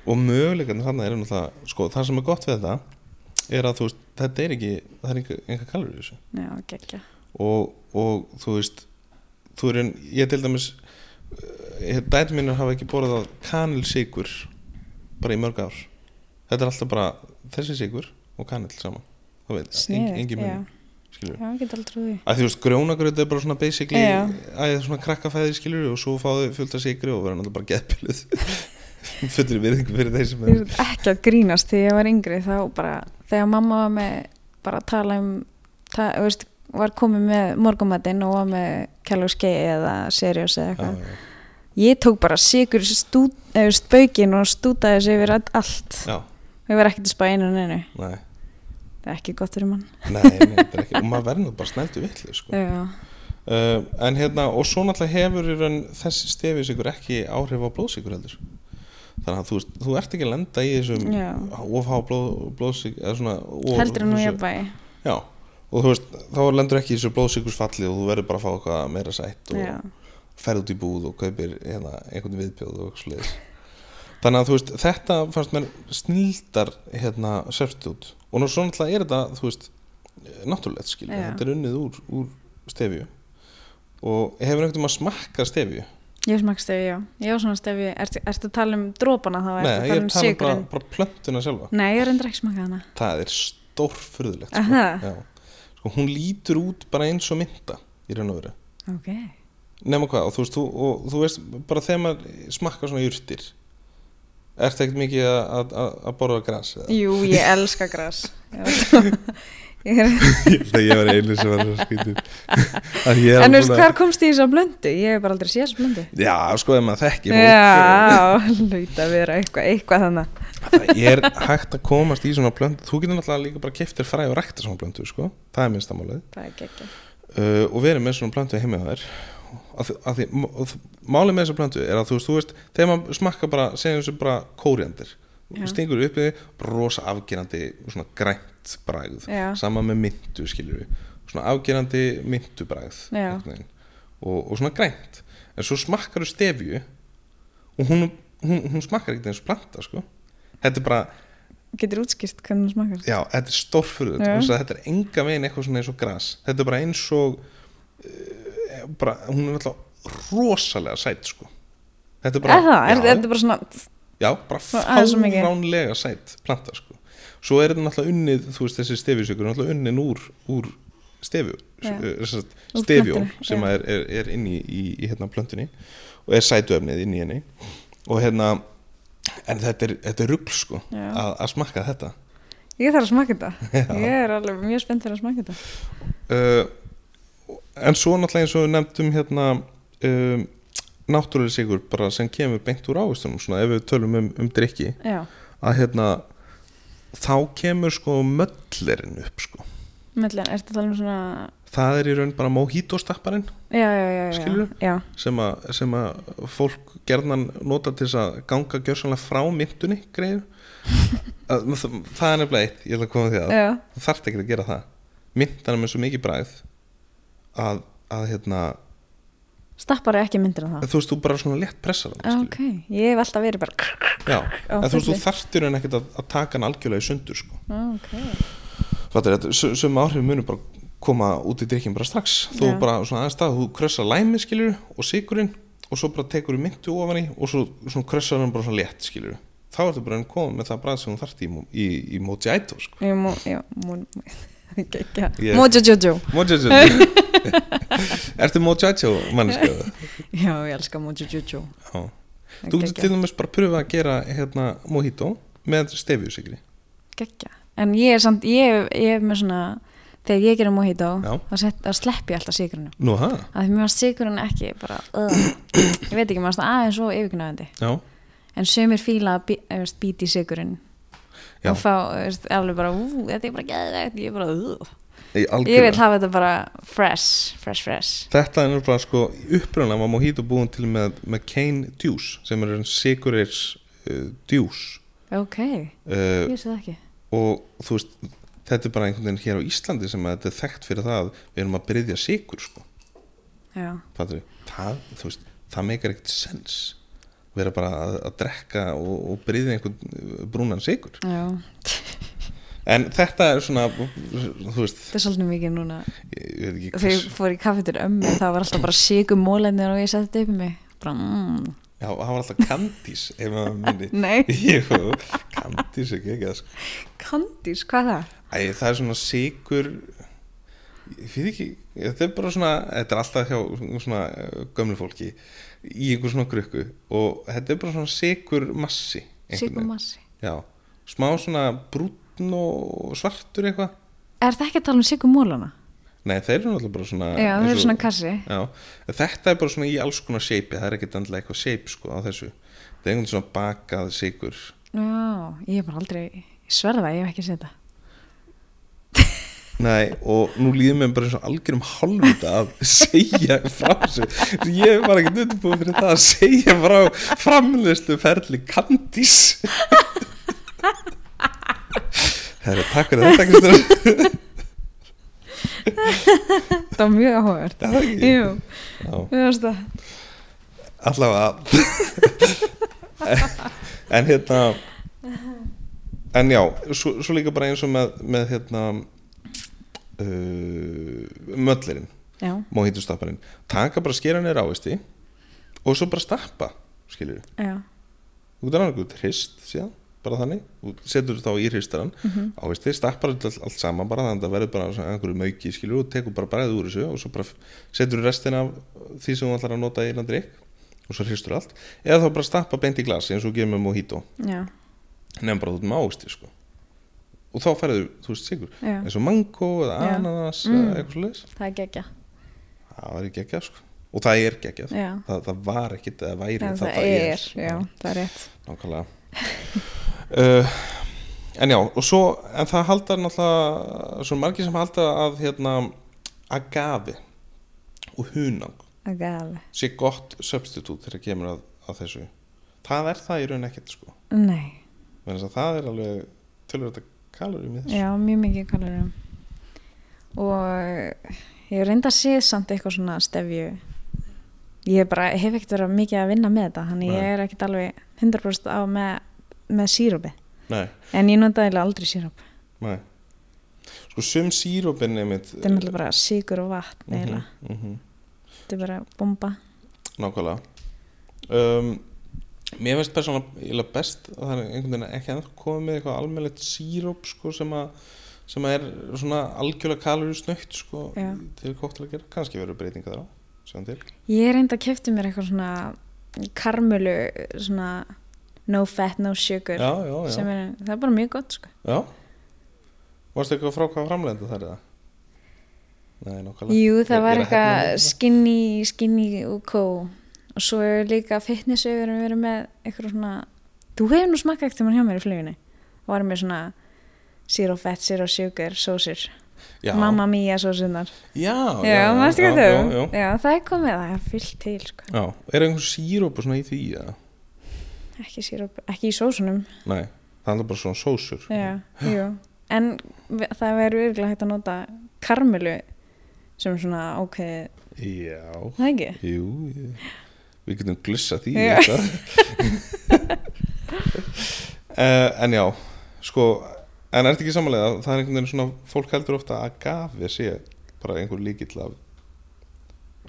[SPEAKER 1] og möguleikarnir þannig er náttúrulega, sko, það sem er gott við þetta er að þú veist, þetta er ekki, það er einhver, einhver kalur í þessu.
[SPEAKER 2] já, geggjað,
[SPEAKER 1] og, og þú veist þú er en, ég til dæmis dæti mínir hafa ekki borðað kanilsykur bara í mörg ár þetta er alltaf bara þessi sykur og kanil saman þú veit,
[SPEAKER 2] sniðið
[SPEAKER 1] engin
[SPEAKER 2] já,
[SPEAKER 1] minn skilur
[SPEAKER 2] já, ég get aldrei trúið því.
[SPEAKER 1] að þú veist, grónagröð er bara svona basically
[SPEAKER 2] Já.
[SPEAKER 1] að svona krakkafæði skilur og svo fáðu fullt af sykri og verður náttúrulega bara <laughs> geðpiluð fullir virðingu fyrir þeir sem
[SPEAKER 2] ég
[SPEAKER 1] er
[SPEAKER 2] er ekki að grínast þegar ég var yngri þá bara, þegar mamma var með bara að tala um ta, þú veist, var komið með morgumatinn og var með kjálfskei eða seriós eða
[SPEAKER 1] Já,
[SPEAKER 2] eitthvað
[SPEAKER 1] já,
[SPEAKER 2] ég tók bara sigur stú, spaukin og stútaði þessu yfir allt
[SPEAKER 1] já,
[SPEAKER 2] Ég var ekkert að spá einu og neinu.
[SPEAKER 1] nei,
[SPEAKER 2] Það er ekki gott fyrir mann.
[SPEAKER 1] nei, nei þetta er ekki, og maður verður nú bara snældu vitlu sko.
[SPEAKER 2] Já.
[SPEAKER 1] Uh, en hérna, og svo náttúrulega hefur í raun þessi stefisikur ekki áhrif á blóðsikur heldur þannig að þú, veist, þú ert ekki að lenda í þessum
[SPEAKER 2] Já.
[SPEAKER 1] ofhá blóð, blóðsikur eða svona of-
[SPEAKER 2] Heldur en nú ég
[SPEAKER 1] þessu-
[SPEAKER 2] bæ.
[SPEAKER 1] já, og þú veist, þá lendur ekki í þessu blóðsikursfalli og þú verður bara að fá eitthvað meira sætt og
[SPEAKER 2] Já.
[SPEAKER 1] ferð út í búð og kaupir hérna, einhvern viðbjóð og eitthvað sliðis þannig að þú veist, þetta fannst mér snildar hérna sérstjút og nú svo náttúrulega er þetta þú veist, náttúrulegt skilur
[SPEAKER 2] Já.
[SPEAKER 1] þetta er unnið úr, úr stefju og hefur einhvern veginn að smakka stefju
[SPEAKER 2] Ég smakk stefi, já. Ég var svona stefi. Ertu, ertu að tala um drópana þá? Ertu
[SPEAKER 1] Nei, ég
[SPEAKER 2] að tala
[SPEAKER 1] er
[SPEAKER 2] um
[SPEAKER 1] talað bara,
[SPEAKER 2] sykurinn?
[SPEAKER 1] bara plöntuna sjálfa
[SPEAKER 2] Nei, ég reyndar ekki smakað hana.
[SPEAKER 1] það er stórfurðulegt sko.
[SPEAKER 2] Aha.
[SPEAKER 1] Já. sko, hún lítur út bara eins og mynda í raun og veru
[SPEAKER 2] Ok.
[SPEAKER 1] nema hvað, og þú veist, þú, og, þú veist bara þegar maður smakkar svona jurtir ert ekkert mikið að, að, að- að borða græs eða?
[SPEAKER 2] Jú, ég elska græs. <laughs> Já. Ég er,
[SPEAKER 1] Þegar <laughs> ég var einu sem var svo <laughs> skýtum að ég
[SPEAKER 2] en
[SPEAKER 1] er
[SPEAKER 2] veist, hvar komst ég í þessa blöndu? Ég hef bara aldrei séð þessa blöndu.
[SPEAKER 1] já, sko, ef maður þekki fólk,
[SPEAKER 2] Já, hlut að vera eitthvað, eitthvað þannig.
[SPEAKER 1] það er hægt að komast í svona blöndu þú getur náttúrulega líka bara keftir fræ og rækta svona blöndu, sko, það er minnstamálið
[SPEAKER 2] Það er geggjum.
[SPEAKER 1] uh, og verið með svona plantu heima á þær að, því- að því, og þ- málið með þessa plantu er að þú veist, þú veist þegar maður smakka bara, segjum þessu bara kóriandir
[SPEAKER 2] Já.
[SPEAKER 1] stingur upp í því, rosa afgerandi svona grænt bragð
[SPEAKER 2] Já.
[SPEAKER 1] sama með myndu skilur við svona afgerandi myndu bragð
[SPEAKER 2] Já.
[SPEAKER 1] einhvern veginn. og, og svona grænt en svo smakkar þú stefju og hún, hún, hún smakkar ekkert eins og planta sko þetta er bara,
[SPEAKER 2] Getur útskýrt hvernig hún smakast?
[SPEAKER 1] Já, þetta er stórfurðu
[SPEAKER 2] Já.
[SPEAKER 1] þetta er enga veginn eitthvað svona eins og gras þetta er bara eins og uh, bara, hún er alltaf rosalega sæt sko. þetta er bara
[SPEAKER 2] Er það? Er,
[SPEAKER 1] já,
[SPEAKER 2] er þetta bara svona...
[SPEAKER 1] já, já, bara
[SPEAKER 2] aðeins svo mikið.
[SPEAKER 1] fáránlega sætt planta sko. svo er þetta náttúrulega unnið þú veist þessi stefjusökur er náttúrulega unnin úr, úr eh, stefjú
[SPEAKER 2] Já. Úr
[SPEAKER 1] stefjól
[SPEAKER 2] plöntunni,
[SPEAKER 1] sem
[SPEAKER 2] já.
[SPEAKER 1] er, er, er inn í, í, í hérna plöntunni og er sætuefnið inn í henni og hérna en þetta er, þetta er rugl sko
[SPEAKER 2] Já.
[SPEAKER 1] að, að smakka þetta <laughs>
[SPEAKER 2] Ég þarf að smaka þetta. Ég er alveg mjög spennt fyrir að smaka þetta.
[SPEAKER 1] uh, en svo náttúrulega eins og við nefndum hérna um, náttúrulega sigur bara sem kemur beint úr ávistunum svona ef við tölum um, um drikki
[SPEAKER 2] Já.
[SPEAKER 1] að hérna þá kemur sko möllerinn upp sko
[SPEAKER 2] Mellin, ertu að tala um svona...
[SPEAKER 1] það er í raun bara mojito-stapparinn
[SPEAKER 2] Já, já, já. já.
[SPEAKER 1] Skilurðu?
[SPEAKER 2] Já,
[SPEAKER 1] sem, að- sem að fólk gerðan nota til þess að ganga gjörsanlega frá myndunni greiðu <laughs> Að- það það er nefnilega eitt, ég ætla að koma því að
[SPEAKER 2] já.
[SPEAKER 1] þú þarft ekki að gera það myndan er með svo mikið bræð að, að hérna
[SPEAKER 2] Stappar er ekki myndir en það.
[SPEAKER 1] þú veist, þú bara svona létt pressar hann
[SPEAKER 2] Ah, Ok, ég hef alltaf verið bara...
[SPEAKER 1] Já,
[SPEAKER 2] Á
[SPEAKER 1] en þú veist, þú
[SPEAKER 2] fullu. Ah,
[SPEAKER 1] þarftir hann ekkert að, að taka hann algjörlega í sundur sko.
[SPEAKER 2] Ok.
[SPEAKER 1] Fattir, þetta, sum- sum áhrif munur bara koma út í drikkin bara strax þú
[SPEAKER 2] Já.
[SPEAKER 1] bara svona aðeins stað, þú krössar læmi skilur og sigurinn og svo bara tekur þú myndu ofan í og svo svona krössar hann bara svona létt skilur þá ertu bara enn komið með það bræð sem þú þarft í, mo- í, í mojito sko.
[SPEAKER 2] Ég mú... Já, mú... <laughs> Gekja.
[SPEAKER 1] Ég-
[SPEAKER 2] Mojojojo.
[SPEAKER 1] Mojito Ertu mojito mannskjöðu?
[SPEAKER 2] Já, ég elska Mojojojo.
[SPEAKER 1] Já Þú getur til dæmis bara að pröfa að gera hérna mojito með stefjusikri
[SPEAKER 2] Gekja. En ég er samt, ég, ég er með svona, þegar ég gerum mojito,
[SPEAKER 1] Já.
[SPEAKER 2] þá set- þá slepp ég alltaf sigrunum.
[SPEAKER 1] Nú ha?
[SPEAKER 2] Að því mér var sigrun ekki bara, uh, ég veit ekki, maður svona aðeins svo yfirgnæðandi.
[SPEAKER 1] Já,
[SPEAKER 2] En sömur fíla að bí, eh, veist, bíti í sigrun
[SPEAKER 1] Já.
[SPEAKER 2] og fá, eh, veist, alveg bara, ú, þetta er bara geðvegt, ég er bara, uh.
[SPEAKER 1] ég
[SPEAKER 2] Ég vil
[SPEAKER 1] algjörlega
[SPEAKER 2] hafa þetta bara fresh, fresh, fresh.
[SPEAKER 1] Þetta er bara sko, uppröðanlega var mojito búin til með, með cane juice sem er enn sikurir uh, juice
[SPEAKER 2] Ok, ég
[SPEAKER 1] uh,
[SPEAKER 2] sé það ekki.
[SPEAKER 1] og þú veist þetta er bara einhvern veginn hér á Íslandi sem að þetta er þekkt fyrir það að við erum að bryðja sikur sko,
[SPEAKER 2] Já,
[SPEAKER 1] Patrik það, þú veist, það meikar ekkert sens vera bara að, að drekka og, og bryðja einhvern uh, brúnan sikur
[SPEAKER 2] já,
[SPEAKER 1] En þetta er svona, þú veist,
[SPEAKER 2] þetta er svolítið mikið núna.
[SPEAKER 1] ég ég veit ekki
[SPEAKER 2] Þegar
[SPEAKER 1] hvers,
[SPEAKER 2] ég fór í kaffi til ömmu, það var alltaf bara sigum mólendir og ég setti þetta upp í mig. Bara, mm,
[SPEAKER 1] já, það var alltaf kandís, ef maður minni.
[SPEAKER 2] Nei,
[SPEAKER 1] <laughs> Jú, kandís ekki ekki, sko.
[SPEAKER 2] kandís, hvað er það?
[SPEAKER 1] Æ, það er svona sigur, ég fyrir ekki, þetta er bara svona, þetta er alltaf hjá svona eh, gömlu fólki í einhver svona grukku og þetta er bara svona sigur massi.
[SPEAKER 2] Sigumassi.
[SPEAKER 1] Já, smá svona brúnn og svartur eitthvað.
[SPEAKER 2] Er það ekki að tala um sigumólana?
[SPEAKER 1] Nei, þeir eru náttúrulega bara svona
[SPEAKER 2] Já, það
[SPEAKER 1] eins
[SPEAKER 2] er
[SPEAKER 1] og-
[SPEAKER 2] svona kassi.
[SPEAKER 1] Já, en þetta er bara svona í alls konar shape það er ekkert andlega eitthvað shape sko á þessu það er einhvern svona bakað sigur
[SPEAKER 2] Já, ég er bara aldrei, ég sverða það, ég hef ekki séð þetta.
[SPEAKER 1] Nei, og nú líður mér bara eins og algjörum halvita að segja frá þessu ég var ekkert undirbúið fyrir það að segja frá framlýstu ferli kandís Herra, takk fyrir þetta Kristur.
[SPEAKER 2] Það var mjög áhugavert.
[SPEAKER 1] Já, það ekki.
[SPEAKER 2] Jú,
[SPEAKER 1] Já,
[SPEAKER 2] við veist það.
[SPEAKER 1] allavega en hérna en já, svo, svo líka bara eins og með, með hérna uh, möllerinn
[SPEAKER 2] Já,
[SPEAKER 1] móhítustapparinn, taka bara skera niður ávisti og svo bara stappa skilur við,
[SPEAKER 2] já,
[SPEAKER 1] þú getur annað út hrist síðan, bara þannig, og setur þá í hristarann
[SPEAKER 2] Mhm,
[SPEAKER 1] ávisti, stappar þetta allt, allt saman bara þannig að það verður bara svona einhverju mauki skilur við, og tekur bara bræðið úr þessu og svo bara setur restina af því sem þú ætlar að nota í innan drikk og svo hristur allt, eða þá bara stappa beint í glasi eins og gefur með mojito,
[SPEAKER 2] já,
[SPEAKER 1] nefn bara út með ávisti sko og þá færðu, þú veist, sigur
[SPEAKER 2] já.
[SPEAKER 1] eins og mango eða
[SPEAKER 2] Já.
[SPEAKER 1] ananas
[SPEAKER 2] Mm.
[SPEAKER 1] eða eitthvað svoleiðis
[SPEAKER 2] Það er geggja.
[SPEAKER 1] það var ekki ekki, sko og það er geggjað
[SPEAKER 2] Já,
[SPEAKER 1] það, það var ekkit eða væri
[SPEAKER 2] en það er, já, það er rétt.
[SPEAKER 1] nákvæmlega uh, en já og svo en það halda náttúrulega svo margir sem halda að hérna agave og hunang
[SPEAKER 2] Agave.
[SPEAKER 1] sé gott substitut þegar kemur að, að þessu það er það í raun ekkert sko
[SPEAKER 2] Nei,
[SPEAKER 1] Vegna þess að það er alveg tölur þetta kalorum í þessu
[SPEAKER 2] já, mjög mikið kalorum. Og ég reynda að séð samt eitthvað svona stefju. Ég bara hef ekkert verið mikið að vinna með þetta, þannig
[SPEAKER 1] Nei.
[SPEAKER 2] ég er ekkert alveg 100% á með, með sírópi.
[SPEAKER 1] nei,
[SPEAKER 2] En ég notaði eiginlega aldrei síróp.
[SPEAKER 1] nei sko sum sírópin einmitt
[SPEAKER 2] Þetta er náttúrulega bara síkur og vatn
[SPEAKER 1] Mhm,
[SPEAKER 2] eiginlega.
[SPEAKER 1] mhm.
[SPEAKER 2] Þetta er bara bomba.
[SPEAKER 1] Nákvæmlega um, Mér finnst persónulega eiginlega best að það er einhvern veginn ekki að koma með eitthvað almennilegt síróp sko, sem, að, sem að er svona algjörlega kaloríu snögt sko,
[SPEAKER 2] Já.
[SPEAKER 1] til koktel að gera, kannski verður breytinga þar á sjáum til,
[SPEAKER 2] Ég reyndi að kefti mér eitthvað svona karmölu, svona no fat, no sugar
[SPEAKER 1] já, já, já,
[SPEAKER 2] sem er, það er bara mjög gott sko.
[SPEAKER 1] já. Varstu eitthvað frá hvað framlegenda þær eða? Nei, nákvæmlega
[SPEAKER 2] Jú, það
[SPEAKER 1] Ég-
[SPEAKER 2] var
[SPEAKER 1] ég er að hefna
[SPEAKER 2] eitthvað
[SPEAKER 1] mín.
[SPEAKER 2] skinny, skinny og kó og svo er líka fitnessauður og við erum með eitthvað svona þú hefur nú smakkað ekkert hjá mér í flugunni og varum með svona zero fat, zero sugar, sósir
[SPEAKER 1] já.
[SPEAKER 2] mamma mía sósirnar
[SPEAKER 1] Já,
[SPEAKER 2] já, já, já,
[SPEAKER 1] já,
[SPEAKER 2] já,
[SPEAKER 1] já, já.
[SPEAKER 2] það er komið, það er fyllt til sko.
[SPEAKER 1] Já, er einhvern sírópu svona í því eða?
[SPEAKER 2] ekki, syrup, ekki í sósunum
[SPEAKER 1] Nei, það er alltaf bara svona sósur
[SPEAKER 2] já, jú. en vi- það verður virkilega hægt að nota karmelu sem svona ákveðið,
[SPEAKER 1] Já,
[SPEAKER 2] það ekki?
[SPEAKER 1] Jú, ég- við getum glissa því
[SPEAKER 2] Já.
[SPEAKER 1] uh, <laughs> Eh, En já, sko En er þetta ekki samanlega að það er einhvern veginn svona Fólk heldur ofta að agafi sé Bara einhver líkill af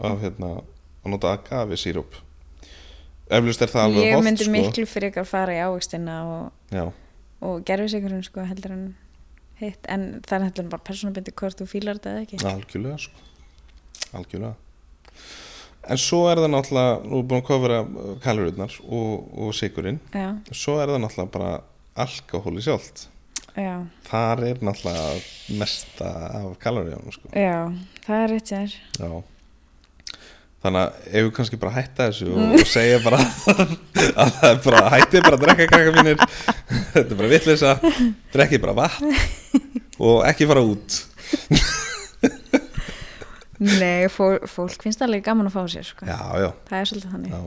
[SPEAKER 1] Af hérna, að nota agafi síróp Eflust er það alveg
[SPEAKER 2] ég
[SPEAKER 1] hollt,
[SPEAKER 2] myndi
[SPEAKER 1] sko.
[SPEAKER 2] miklu fyrir ykkar fara í ávegstina og,
[SPEAKER 1] Já,
[SPEAKER 2] og gerfisíkurinn sko heldur en hitt en það er heldur en bara persónabindi hvort þú fílar þetta eða ekki
[SPEAKER 1] algjörlega sko Algjörlega En svo er það náttúrulega, nú er búin að kofra kalurutnar og, og sigurinn
[SPEAKER 2] já,
[SPEAKER 1] Svo er það náttúrulega bara alkohóli sjálft.
[SPEAKER 2] já,
[SPEAKER 1] Þar er náttúrulega mesta af kaloríunum sko.
[SPEAKER 2] já, það er rétt sér
[SPEAKER 1] Já. Þannig að ef við kannski bara hætta þessu og,
[SPEAKER 2] Mm.
[SPEAKER 1] og segja bara <laughs> að það er bara hættið bara að drekka krakka mínir, <laughs> þetta er bara vitleysa, drekkið bara
[SPEAKER 2] <laughs>
[SPEAKER 1] vatn og ekki fara út.
[SPEAKER 2] nei, fó, fólk finnst það alveg gaman að fá sér sko.
[SPEAKER 1] Já, já,
[SPEAKER 2] það er svolítið þannig
[SPEAKER 1] já.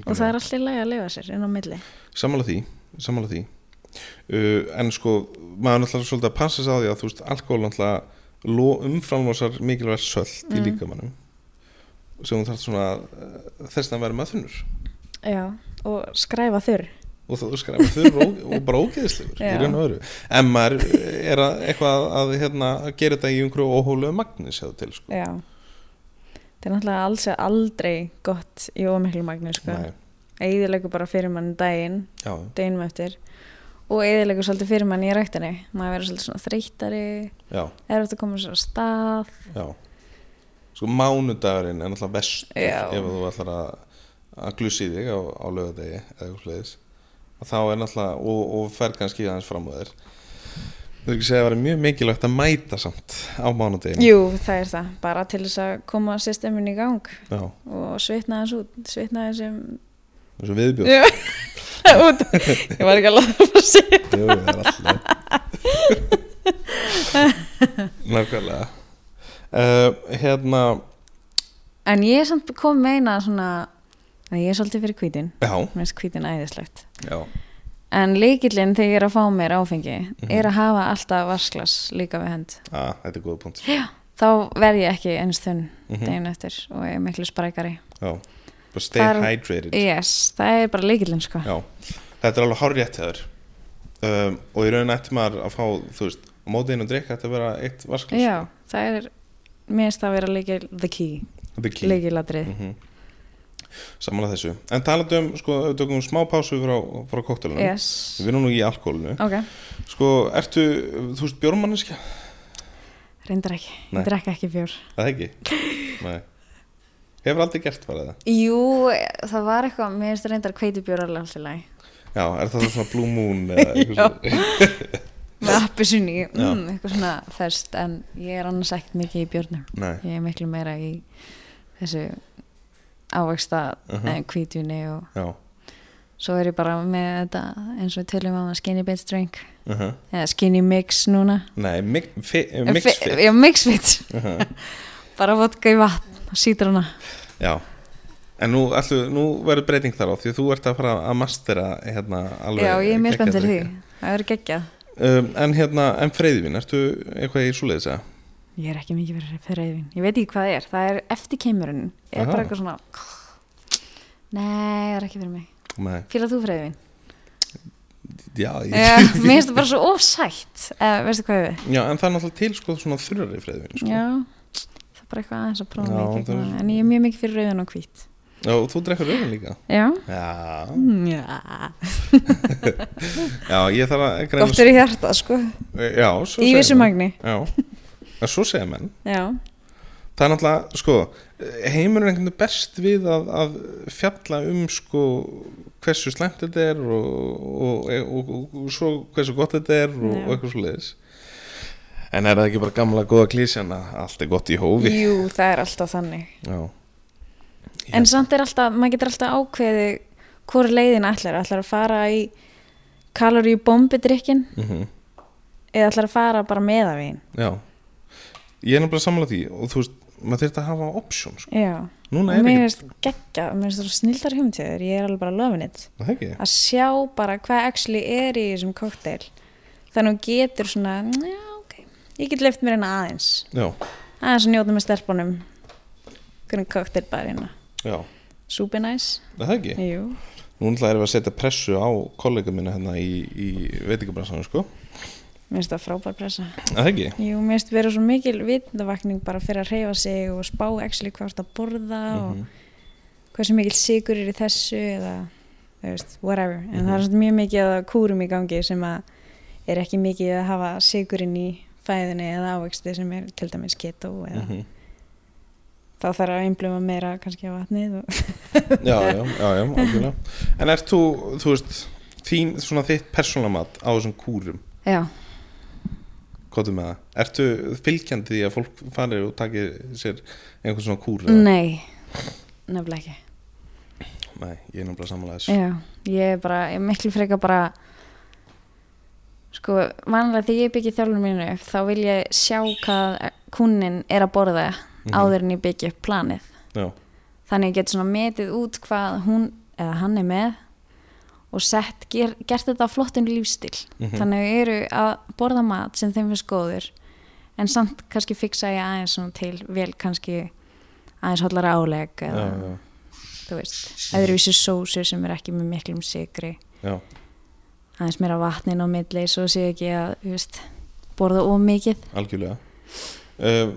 [SPEAKER 2] og það er alltaf læg að lifa sér inn á milli
[SPEAKER 1] Samanlega því, samanlega því uh, En sko, maður náttúrulega svolítið að passa sig á því að þú veist, alkohól náttúrulega umframlósar mikilvægt sölt í
[SPEAKER 2] Mm.
[SPEAKER 1] líkamannum sem hún þarf svona uh, þess að vera með þunnur
[SPEAKER 2] já, og skræfa þurr
[SPEAKER 1] og þú skræma þurr og, og bara ógeðislegur í
[SPEAKER 2] Já.
[SPEAKER 1] raun og öru en maður er að, eitthvað að hérna, að gera þetta í einhverju óhóluðu magni séðu til sko.
[SPEAKER 2] já það er náttúrulega alls aldrei gott í ómiklu magni sko.
[SPEAKER 1] Nei,
[SPEAKER 2] eðilegu bara fyrir mann daginn
[SPEAKER 1] já,
[SPEAKER 2] deginum eftir og eðilegu svolítið fyrir mann í ræktinni maður verður svolítið svona þreytari
[SPEAKER 1] já,
[SPEAKER 2] er þetta að koma sér á stað
[SPEAKER 1] já sko mánudagurinn er náttúrulega vestur
[SPEAKER 2] Já.
[SPEAKER 1] ef þú ætlar að, að glussi þig á, á lögadegi eða eitthvað sliðis þá er náttúrulega, og, og fer kannski aðeins fram á þér þú ekki segja að vera mjög mikilvægt að mæta samt á mánudeginu
[SPEAKER 2] jú, það er það, bara til þess að koma systemin í gang
[SPEAKER 1] já,
[SPEAKER 2] og svitna þess út svitna þessum
[SPEAKER 1] eins og viðbjóð
[SPEAKER 2] Já, <laughs> út ég var ekki að láta að segja
[SPEAKER 1] Jú, það er
[SPEAKER 2] <laughs>
[SPEAKER 1] alltaf Nákvæmlega uh, Hérna
[SPEAKER 2] en ég er samt kom með eina svona að ég er svolítið fyrir kvítin
[SPEAKER 1] Já,
[SPEAKER 2] mér finnst kvítin æðislegt
[SPEAKER 1] já,
[SPEAKER 2] en leikillin þegar ég er að fá mér áfengi
[SPEAKER 1] Mhm.
[SPEAKER 2] er að hafa alltaf vasklas líka við hend
[SPEAKER 1] ah, þetta er góða punkt
[SPEAKER 2] þá verð ég ekki eins þunn
[SPEAKER 1] mm
[SPEAKER 2] deginu eftir og ég er miklu sprækari
[SPEAKER 1] Já, bara stay
[SPEAKER 2] Þar-
[SPEAKER 1] hydrated
[SPEAKER 2] yes, það er bara leikillin sko
[SPEAKER 1] Já, þetta er alveg hárrétt hefur um, og í raunin eftir maður að fá þú veist, á mótiðinu að drikka þetta að vera eitt vasklas
[SPEAKER 2] Já, það er mér finnst það að vera leikil the key,
[SPEAKER 1] The key Leik.
[SPEAKER 2] leikiladrið
[SPEAKER 1] Mm Samanlega þessu En talandi um, sko, ef við tökum smá pásu frá, frá koktelunum
[SPEAKER 2] yes,
[SPEAKER 1] Mhm. Við erum nú í alkoholinu
[SPEAKER 2] ok,
[SPEAKER 1] Sko, ertu, þú veist, bjórmanniski
[SPEAKER 2] reyndar ekki
[SPEAKER 1] Nei.
[SPEAKER 2] ég drekka ekki fjór
[SPEAKER 1] Það ekki? Nei Hefur aldrei gert bara það?
[SPEAKER 2] Jú, það var eitthvað, mér finnst reyndar kveitibjór alveg alltaf læg
[SPEAKER 1] Já, er það svona Blue Moon eða eitthvað svo?
[SPEAKER 2] með appisunni,
[SPEAKER 1] Já.
[SPEAKER 2] mm, eitthvað svona þerst, en ég er annars ekkert mikið í bjórnum
[SPEAKER 1] Nei
[SPEAKER 2] ég er miklu meira í þessu ávegsta uh
[SPEAKER 1] Mhm.
[SPEAKER 2] kvítunni og
[SPEAKER 1] Já
[SPEAKER 2] svo er ég bara með þetta eins og við tölum á það skinny bitch drink
[SPEAKER 1] uh -huh.
[SPEAKER 2] eða skinny mix núna
[SPEAKER 1] Nei, mig- fi- Um mix
[SPEAKER 2] Fe-
[SPEAKER 1] fit
[SPEAKER 2] Já, mix fit
[SPEAKER 1] uh -huh.
[SPEAKER 2] bara vodka í vatn og sítruna
[SPEAKER 1] Já En nú, allu, nú verður breyting þar á því að þú ert að fara að mastera hérna alveg
[SPEAKER 2] Já, ég er mjög spennt fyrir því
[SPEAKER 1] geggjað drykki.
[SPEAKER 2] Það verður geggjað
[SPEAKER 1] um, En hérna, en freyðivin, ertu eitthvað í svoleiðis eða?
[SPEAKER 2] Ég er ekki mikið fyrir freyðin Ég veit ekki hvað það er Það er eftir keimurinn Er
[SPEAKER 1] Aha.
[SPEAKER 2] bara eitthvað svona Nei, það er ekki fyrir mig
[SPEAKER 1] Nei,
[SPEAKER 2] Fýlar þú freyðin?
[SPEAKER 1] já, ég...
[SPEAKER 2] Já, mér finnst það bara svo ofsætt eh, Veistu hvað ég við?
[SPEAKER 1] já, en það er náttúrulega til sko svona þurrari freyðivin sko.
[SPEAKER 2] Já, það er bara eitthvað aðeins að prófa
[SPEAKER 1] Já,
[SPEAKER 2] mikið
[SPEAKER 1] það er-
[SPEAKER 2] En ég er mjög mikið fyrir rauðan og hvít
[SPEAKER 1] Já, og þú drekkur rauðin líka
[SPEAKER 2] Já,
[SPEAKER 1] Já,
[SPEAKER 2] Já.
[SPEAKER 1] já ég þarf að
[SPEAKER 2] gott er í hjarta sko
[SPEAKER 1] Já, svo
[SPEAKER 2] Í
[SPEAKER 1] segja
[SPEAKER 2] vissu
[SPEAKER 1] menn.
[SPEAKER 2] magni
[SPEAKER 1] Já, en svo segja menn
[SPEAKER 2] Já,
[SPEAKER 1] Það er náttúrulega, sko, heimurinn er einhvern veginn best við að, að fjalla um, sko, hversu slæmt þetta er og, og, og, og, og svo hversu gott þetta er og,
[SPEAKER 2] Já.
[SPEAKER 1] og eitthvað svo leiðis. En er það ekki bara gamla góða klísjan að allt er gott í hófi?
[SPEAKER 2] jú, það er alltaf þannig
[SPEAKER 1] Já,
[SPEAKER 2] En samt er alltaf, maður getur alltaf ákveðið hvora leiðin ætlar, ætlar að fara í kaloríu bombidrykkin
[SPEAKER 1] mhm.
[SPEAKER 2] eða ætlar að fara bara meðavín
[SPEAKER 1] Já, ég er nefnilega sammála því og þú veist, maður þurft að hafa option, sko.
[SPEAKER 2] Já, og
[SPEAKER 1] Núna er
[SPEAKER 2] mér
[SPEAKER 1] ekki,
[SPEAKER 2] finnst geggjað, mér finnst það snildar hugmyndiður, ég er alveg bara lovin it
[SPEAKER 1] það ekki?
[SPEAKER 2] að sjá bara hvað actually er í þessum kokteil þannig að þú getur svona, já ok ég get leift mér hérna aðeins
[SPEAKER 1] Já,
[SPEAKER 2] aðeins að njóta með stelpunum hvernig kokteil bara hérna
[SPEAKER 1] já,
[SPEAKER 2] súpi næs,
[SPEAKER 1] það ekki?
[SPEAKER 2] jú
[SPEAKER 1] Nú náttúrulega erum við að setja pressu á kollega minna hérna í, í veitingabransanum, sko.
[SPEAKER 2] mér finnst það frábær pressa
[SPEAKER 1] Það ekki?
[SPEAKER 2] Jú, mér finnst verið svo mikil vitundavakning bara fyrir að reyfa sig og spá actually hvað þú ert að borða
[SPEAKER 1] Mhm.
[SPEAKER 2] og hversu mikil sigur er í þessu eða, þú veist, whatever en það er svona mjög mikið að kúrum í gangi sem að er ekki mikið að hafa sigurinn í fæðinni eða ávexti sem er til dæmis keto eða
[SPEAKER 1] Mhm.
[SPEAKER 2] þá þarf að einblöma meira kannski á vatnið og
[SPEAKER 1] já, já, já, já, algjörlega En ert þú, þú veist þín, svona þitt persónlamat á þessum kúrum
[SPEAKER 2] Já,
[SPEAKER 1] hvað er með það? Ertu fylgjandi því að fólk fari og taki sér einhvern svona kúr? eða?
[SPEAKER 2] nei, nefnilega ekki
[SPEAKER 1] Nei, ég er náttúrulega samanlega þessu
[SPEAKER 2] Já, ég er bara, ég er miklu frekar bara sko, vanlega þegar ég byggja þjálfur mínu upp þá vil ég sjá hvað kunnin er að borða
[SPEAKER 1] Mhm.
[SPEAKER 2] áður en ég byggja upp planið
[SPEAKER 1] Já,
[SPEAKER 2] þannig ég get svona metið út hvað hún eða hann er með og sett, ger, gert þetta á flottun lífstil
[SPEAKER 1] Mhm.
[SPEAKER 2] þannig að þau eru að borða mat sem þeim finnst góður en samt kannski fixa ég aðeins svona til vel kannski aðeins hollara áleg
[SPEAKER 1] já,
[SPEAKER 2] eða
[SPEAKER 1] já,
[SPEAKER 2] þú veist, öðruvísu sósu sem er ekki með miklum sigri
[SPEAKER 1] já,
[SPEAKER 2] aðeins meira vatnin á milli svo sé ekki að, þú veist, borða ómikið
[SPEAKER 1] algjörlega uh,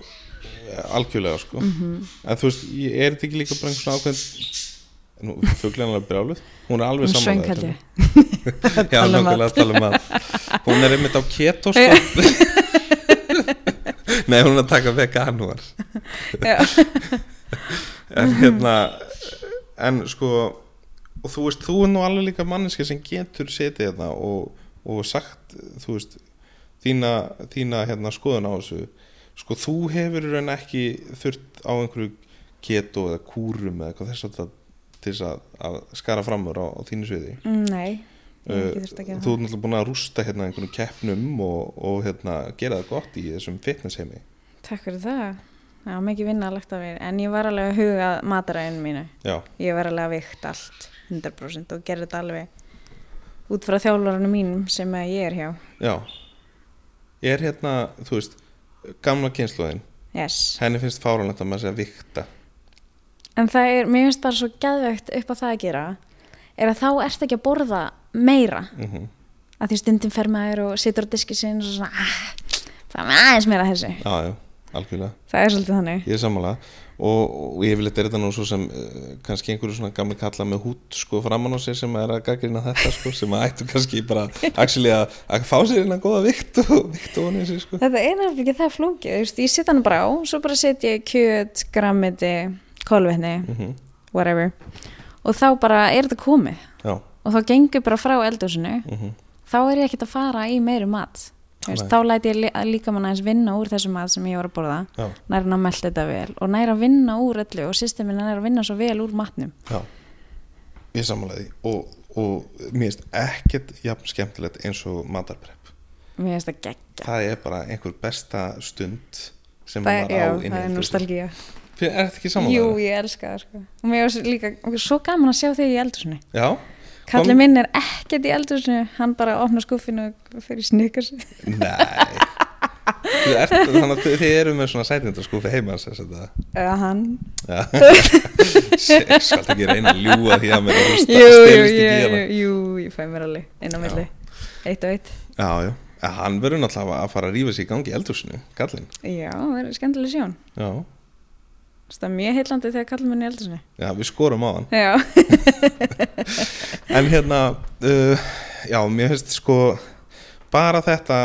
[SPEAKER 1] Algjörlega, sko
[SPEAKER 2] Mhm.
[SPEAKER 1] En þú veist, ég- er þetta ekki líka bara einhvern svona ákveðin Nú, fuglein er alveg brjáluð Hún er alveg
[SPEAKER 2] hún
[SPEAKER 1] saman
[SPEAKER 2] svöngalli
[SPEAKER 1] Já,
[SPEAKER 2] Tala um mat.
[SPEAKER 1] nákvæmlega að tala um að hún er einmitt á keto sko. Nei, hún er að taka veganúar
[SPEAKER 2] Já.
[SPEAKER 1] En hérna en sko og þú veist, þú er nú alveg líka manneski sem getur setið hérna og, og sagt, þú veist þína, þína hérna skoðun á þessu sko, þú hefur í raun ekki þurft á einhverju keto eða kúrum eða hvað þess að til þess að, að skara framur á, á þínu sviði
[SPEAKER 2] Mm, nei, ég hef ekki
[SPEAKER 1] Uh,
[SPEAKER 2] þurft að gera
[SPEAKER 1] þú ert náttúrulega búin að rústa hérna einhvern keppnum og, og hérna, gera það gott í þessum fitnessheimi
[SPEAKER 2] það takk fyrir það, það var mikið vinna að lagt af mér en ég var alveg að huga mataræðinu mínu
[SPEAKER 1] já,
[SPEAKER 2] ég var alveg að vikt allt 100% og gerði þetta alveg út frá þjálfarunum mínum sem að ég er hjá
[SPEAKER 1] já er hérna, þú veist gamla kynsluðin,
[SPEAKER 2] yes.
[SPEAKER 1] henni finnst fáranlegt að maður sé að vikta
[SPEAKER 2] En það er, mér finnst bara svo gæðvegt upp á það að gera er að þá ert ekki að borða meira
[SPEAKER 1] mm -hmm.
[SPEAKER 2] að því stundum fer maður og situr á diski sinn og svona ah, það er með aðeins meira af þessu
[SPEAKER 1] já, já, algjörlega,
[SPEAKER 2] það er svolítið þannig
[SPEAKER 1] ég er sammála og, og ég vil eitthvað er þetta nú svo sem uh, kannski einhverju svona gamli kalla með hút sko framan á sér sem er að gaggrina þetta sko, sem að ættu kannski bara actually, að, að fá sér hérna góða vikt og vikt og honum sér sko
[SPEAKER 2] þetta er nefnilega ekki það flókið þú veist, ég sitt hann bara á, svo bara set ég kjöt, grammiti, kolvetni
[SPEAKER 1] Mhm.
[SPEAKER 2] whatever og þá bara er þetta komið
[SPEAKER 1] já,
[SPEAKER 2] og þá gengur bara frá eldhúsinu
[SPEAKER 1] mm
[SPEAKER 2] þá er ég ekkert að fara í meiri mat Þú veist,
[SPEAKER 1] Nei.
[SPEAKER 2] þá læti ég lí- að líka mann aðeins vinna úr þessu mat sem ég var að borða
[SPEAKER 1] já,
[SPEAKER 2] nær hann að melda þetta vel og nær að vinna úr öllu og systemin nær að vinna svo vel úr matnum
[SPEAKER 1] Já, ég samanlega því og, og mér finnst ekkert jafn skemmtilegt eins og matarprepp
[SPEAKER 2] mér finnst það geggja
[SPEAKER 1] það er bara einhver besta stund sem
[SPEAKER 2] það,
[SPEAKER 1] maður
[SPEAKER 2] já,
[SPEAKER 1] á inn
[SPEAKER 2] það
[SPEAKER 1] í
[SPEAKER 2] er
[SPEAKER 1] eldhúsi.
[SPEAKER 2] nostalgía
[SPEAKER 1] Fyrir- Er þetta ekki samanlega?
[SPEAKER 2] Jú, ég elska það sko. og mér var líka mér var svo gaman að sjá þig í eldursunni
[SPEAKER 1] Já,
[SPEAKER 2] Kalli
[SPEAKER 1] Kom-
[SPEAKER 2] minn er ekkert í eldursunni hann bara opnar skuffinu og fer í snickers
[SPEAKER 1] nei Þið ert, þannig að þið- þið eru með svona sætindaskúfi heima sem sagt að-
[SPEAKER 2] eða hann
[SPEAKER 1] Já. Shit, Skal ekki reyna að ljúga því að mér er
[SPEAKER 2] jú,
[SPEAKER 1] rústa-
[SPEAKER 2] jú,
[SPEAKER 1] stelist ekki í
[SPEAKER 2] jú,
[SPEAKER 1] hana.
[SPEAKER 2] jú, ég fæ mér alveg inn á milli, eitt og eitt
[SPEAKER 1] Já, já, En hann verður náttúrulega að fara að rífa sig í gangi í eldhúsinu, kallinn
[SPEAKER 2] já, það er skemmtileg sjón
[SPEAKER 1] Já,
[SPEAKER 2] Það er mjög heillandi þegar kallum henni eldur sinni.
[SPEAKER 1] Já, við skorum á hann
[SPEAKER 2] Já,
[SPEAKER 1] En hérna, uh, já, mér finnst sko bara þetta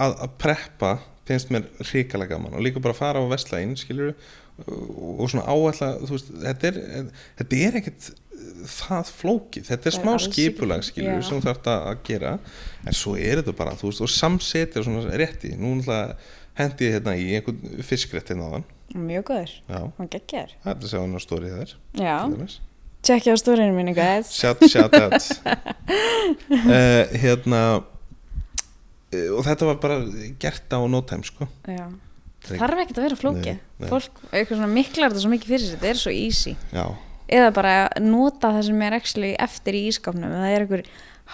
[SPEAKER 1] að, að preppa finnst mér hrikalega gaman og líka bara að fara og vesla inn, skilur og svona áætla, þú veist, þetta er, þetta er ekkert það flókið, þetta er
[SPEAKER 2] Það er
[SPEAKER 1] smá
[SPEAKER 2] alls ekki
[SPEAKER 1] skipulag,
[SPEAKER 2] flókið,
[SPEAKER 1] skilur
[SPEAKER 2] já.
[SPEAKER 1] sem þú þarft að að gera, en svo er þetta bara, þú veist, og samsetja svona rétti, nú náttúrulega hendi ég hérna í einhvern fiskrétt hérna á hann,
[SPEAKER 2] mjög góður.
[SPEAKER 1] já,
[SPEAKER 2] Hún geggjar.
[SPEAKER 1] þetta sé hann á stórið þær,
[SPEAKER 2] Já,
[SPEAKER 1] til dæmis.
[SPEAKER 2] tjekkja á stórinu minni, guys.
[SPEAKER 1] Shout, shout
[SPEAKER 2] <laughs>
[SPEAKER 1] out uh, Hérna eh, Og þetta var bara gert á no time sko
[SPEAKER 2] Já. Það þarf ekkert að vera flókið.
[SPEAKER 1] Nei, nei.
[SPEAKER 2] Fólk, eitthvað svona miklar þetta svo mikið fyrir sér, þetta er svo easy.
[SPEAKER 1] Já,
[SPEAKER 2] Eða bara nota það sem er actually eftir í ískapnum, það er einhver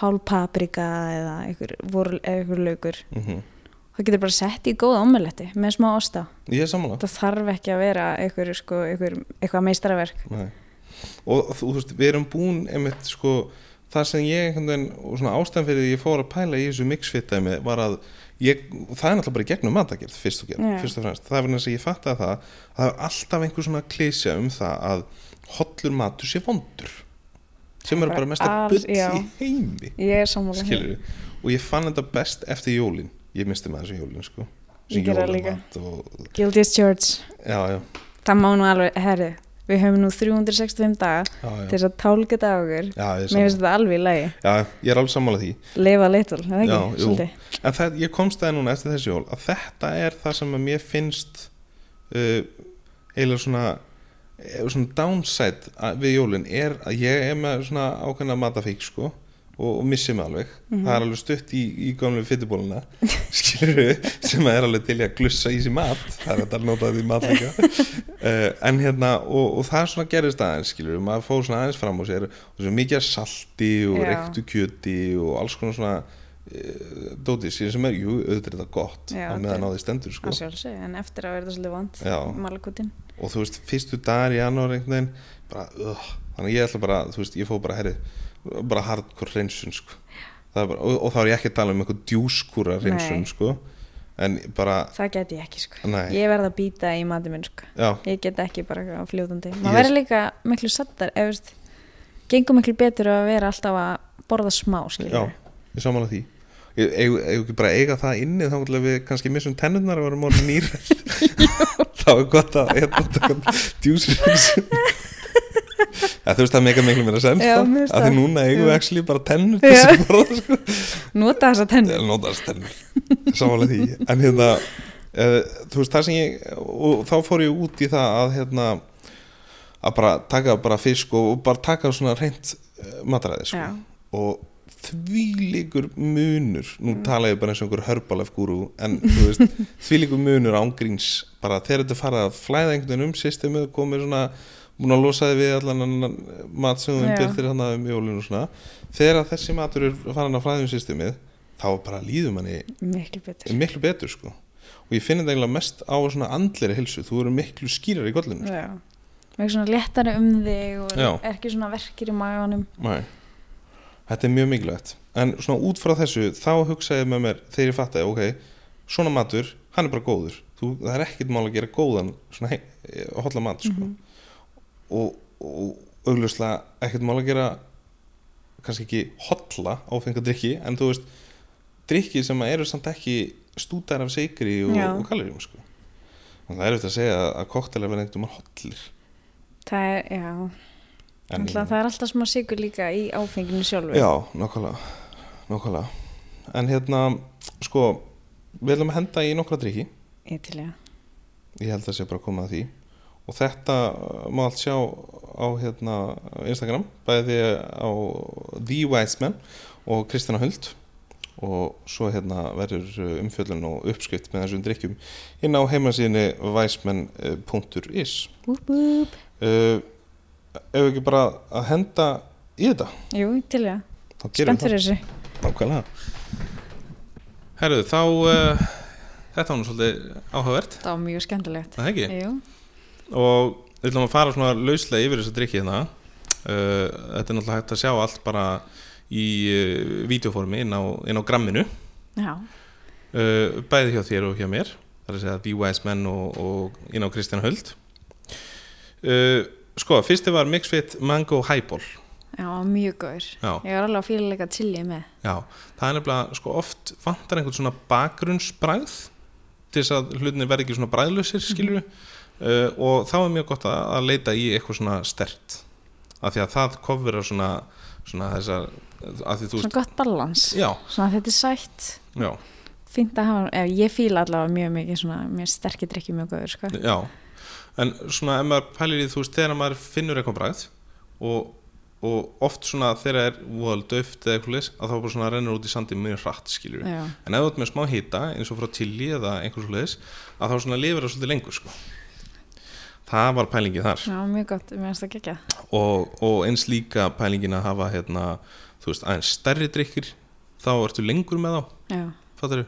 [SPEAKER 2] hálf paprika eða einhver, vorl, eða einhver laukur.
[SPEAKER 1] mm
[SPEAKER 2] Það getur bara sett í góða omeletti með smá osta.
[SPEAKER 1] ég er sammála
[SPEAKER 2] Það þarf ekki að vera einhver, sko, einhver, eitthvað meistaraverk.
[SPEAKER 1] Nei. Og þú veist, við erum búin einmitt sko Það sem ég einhvern veginn, og svona ástæðan fyrir því ég fór að pæla í þessu mixfitdæmi var að ég, og það er náttúrulega bara í gegnum matakert fyrst og, gerð,
[SPEAKER 2] Já.
[SPEAKER 1] fyrst og fremst, það er verið þess að ég fatta það að það er alltaf einhver svona klísja um það að hollur matur sé vondur sem eru
[SPEAKER 2] Bara
[SPEAKER 1] bara mesta
[SPEAKER 2] alls-
[SPEAKER 1] bull
[SPEAKER 2] já.
[SPEAKER 1] í heimi
[SPEAKER 2] Ég er sammála því.
[SPEAKER 1] skilur og ég fann þetta best eftir jólin ég misti með þessu jólin sko Þessi
[SPEAKER 2] Ég gerði það
[SPEAKER 1] jólamat og,
[SPEAKER 2] Guilty as George.
[SPEAKER 1] já, já,
[SPEAKER 2] Það má nú alveg, herri, við höfum nú 365 daga
[SPEAKER 1] já,
[SPEAKER 2] til
[SPEAKER 1] já.
[SPEAKER 2] þess að tálga dagur.
[SPEAKER 1] Já, ég, er
[SPEAKER 2] Mér finnst
[SPEAKER 1] sammála.
[SPEAKER 2] þetta alveg í lagi.
[SPEAKER 1] já, ég er alveg sammála því
[SPEAKER 2] Lifa little, er það ekki?
[SPEAKER 1] Já, jú.
[SPEAKER 2] Svolítið.
[SPEAKER 1] en það, ég komst það núna eftir þessi jól að þetta er það sem að mér finnst uh, eiginlega svona eh, svona downside að- við jólin er að ég er með svona ákveðna matafík sko og, og missi mig alveg
[SPEAKER 2] Mhm.
[SPEAKER 1] það er alveg stutt í, í gamlu
[SPEAKER 2] <laughs>
[SPEAKER 1] fytibóluna skilur sem að er alveg til í að glussa í sér mat það er þetta að nota því matleika uh, en hérna og, og það svona gerist aðeins skilur maður fór svona aðeins fram á sér og svo mikið af salti og
[SPEAKER 2] Já.
[SPEAKER 1] reyktu kjöti og alls konar svona uh, dóti síðan sem er, jú, auðvitað er þetta gott
[SPEAKER 2] Já,
[SPEAKER 1] á
[SPEAKER 2] þetta
[SPEAKER 1] meðan á
[SPEAKER 2] er-
[SPEAKER 1] því stendur sko.
[SPEAKER 2] Að sjálfsög, en eftir að verða svolítið vond.
[SPEAKER 1] Já,
[SPEAKER 2] Malakutin.
[SPEAKER 1] og þú veist, fyrstu dagar í janúar einhvern veginn, bara, uh, þannig að ég ætla bara þú veist, ég fóð bara, herri, bara hardcore reynsun, sko Það er bara, og, og þá er ég ekki að tala um einhver djúskúra reynsun,
[SPEAKER 2] Nei.
[SPEAKER 1] sko en bara,
[SPEAKER 2] Það get ég ekki, sko.
[SPEAKER 1] Nei.
[SPEAKER 2] Ég verð að býta í matið minn, sko.
[SPEAKER 1] já,
[SPEAKER 2] Ég get ekki bara eitthvað á fljótandi.
[SPEAKER 1] Ég-
[SPEAKER 2] Maður verður líka miklu sattar, ef veist, gengur miklu betur að vera alltaf að borða smá,
[SPEAKER 1] já,
[SPEAKER 2] skilur.
[SPEAKER 1] ég samanlega því Ég- eigum eigum ekki bara að eiga það inni þá ætla við kannski missum tennurnar að vera morgun nýr <laughs> þá er gott að hérna taka
[SPEAKER 2] <laughs>
[SPEAKER 1] djúsreynsun Já, þú veist það meika miklu meira sens
[SPEAKER 2] Já,
[SPEAKER 1] þá,
[SPEAKER 2] mér finnst
[SPEAKER 1] að því
[SPEAKER 2] það.
[SPEAKER 1] núna eigum við
[SPEAKER 2] Já.
[SPEAKER 1] actually bara tennur til þess að borða, sko
[SPEAKER 2] Nota þessa
[SPEAKER 1] Ég
[SPEAKER 2] tennur.
[SPEAKER 1] notast tennur Samanlega því En hérna uh, Þú veist það sem ég Og þá fór ég út í það að hérna Að bara taka bara fisk og, og bara taka svona reynt uh, matræði sko.
[SPEAKER 2] Já.
[SPEAKER 1] Og þvílíkur munur Nú tala ég bara eins og einhver hörbalef gúru En þú veist þvílíkur munur ángríns Bara þegar þetta farið að flæða einhvern veginn um Systemið og komið svona Búin að losa þið við allan annan mat sem þú
[SPEAKER 2] Já.
[SPEAKER 1] umbyrtir hann um jólun og svona Þegar að þessi matur er farin að flæða um systemið þá bara líður manni
[SPEAKER 2] Miklu betur.
[SPEAKER 1] miklu betur sko og ég finn þetta eiginlega mest á svona andleri hilsu þú eru miklu skýrar í gollinu
[SPEAKER 2] Já. Mikið svona léttari um þig og
[SPEAKER 1] Já.
[SPEAKER 2] er ekki svona verkir í maganum.
[SPEAKER 1] Nei. þetta er mjög mikilvægt en svona út frá þessu þá hugsa ég með mér þegar ég fattaði ok, svona matur, hann er bara góður þú, það er ekkert mál að gera góðan svona hei, hotla mat sko
[SPEAKER 2] Mhm.
[SPEAKER 1] og, og augljóslega ekkert mál að gera kannski ekki hotla áfenga drikki en þú veist, drikki sem eru samt ekki stútar af sigri og,
[SPEAKER 2] Já.
[SPEAKER 1] og kaloríum sko. og það er eftir að segja að koktelar verða einhvern veginn hotlir
[SPEAKER 2] Það er, já,
[SPEAKER 1] En-
[SPEAKER 2] alltaf, það er alltaf smá sigur líka í áfenginu sjálfu.
[SPEAKER 1] Já, nákvæmlega Nákvæmlega En hérna, sko Við ætlum að henda í nokkra drikki
[SPEAKER 2] Ég til ég.
[SPEAKER 1] Ég held að sé bara að koma að því Og þetta uh, má allt sjá á hérna, Instagram Bæði á The Wiseman Og Kristina Huld Og svo hérna verður uh, umfjöllun og uppskrift með þessum drikkjum Inn á heimasíðinni wiseman.is
[SPEAKER 2] Úp, úp.
[SPEAKER 1] uh, Ef við ekki bara að henda í þetta
[SPEAKER 2] Jú, ég til ég.
[SPEAKER 1] þá gerum
[SPEAKER 2] Spennt
[SPEAKER 1] við það.
[SPEAKER 2] fyrir þessu.
[SPEAKER 1] Nákvæmlega Herðu, þá uh, þetta var nú svolítið áhugavert
[SPEAKER 2] Það var mjög skemmtilegt.
[SPEAKER 1] það er ekki?
[SPEAKER 2] Jú,
[SPEAKER 1] Og við ætlum að fara svona lauslega yfir þess að drikki hérna uh, Þetta er náttúrulega hægt að sjá allt bara í uh, vídeoformi inn á, inn á gramminu
[SPEAKER 2] já,
[SPEAKER 1] uh, bæði hjá þér og hjá mér það er að segja The Wise Men og, og inn á Kristján Höld uh, sko, fyrsti var Mixfit Mango Highball
[SPEAKER 2] Já, mjög góður.
[SPEAKER 1] Já.
[SPEAKER 2] Ég var alveg að fíla leika chili með.
[SPEAKER 1] Já, það er nefnilega, sko, oft vantar einhvern svona bakgrunnsbræð til þess að hlutinni verði ekki svona bræðlausir, skilur uh, og þá er mjög gott að, að leita í eitthvað svona stert af því að það kofur svona, svona þessar, af því þú
[SPEAKER 2] Svona gott balans.
[SPEAKER 1] já,
[SPEAKER 2] Svona þetta er sætt.
[SPEAKER 1] já,
[SPEAKER 2] Fynd að hafa, ef ég fíla allavega mjög mikið svona, mjög sterkir drikki mjög góður, sko.
[SPEAKER 1] já en svona ef maður pælir í þú veist þegar maður finnur eitthvað bræð og, og oft svona þegar er voðal döft eða eitthvað leys að þá bara svona rennur út í sandi mjög hratt skilur
[SPEAKER 2] Já,
[SPEAKER 1] en ef þú ert með smá hýta eins og frá tilli eða einhvers og leiðis að þá svona lifir það svolítið lengur sko. það var pælingið þar
[SPEAKER 2] já mjög gott, mér finnst það gegja.
[SPEAKER 1] og, og eins líka pælingin að hafa hérna, þú veist, aðeins stærri drikkir þá ertu lengur með þá
[SPEAKER 2] Já.
[SPEAKER 1] fattarðu?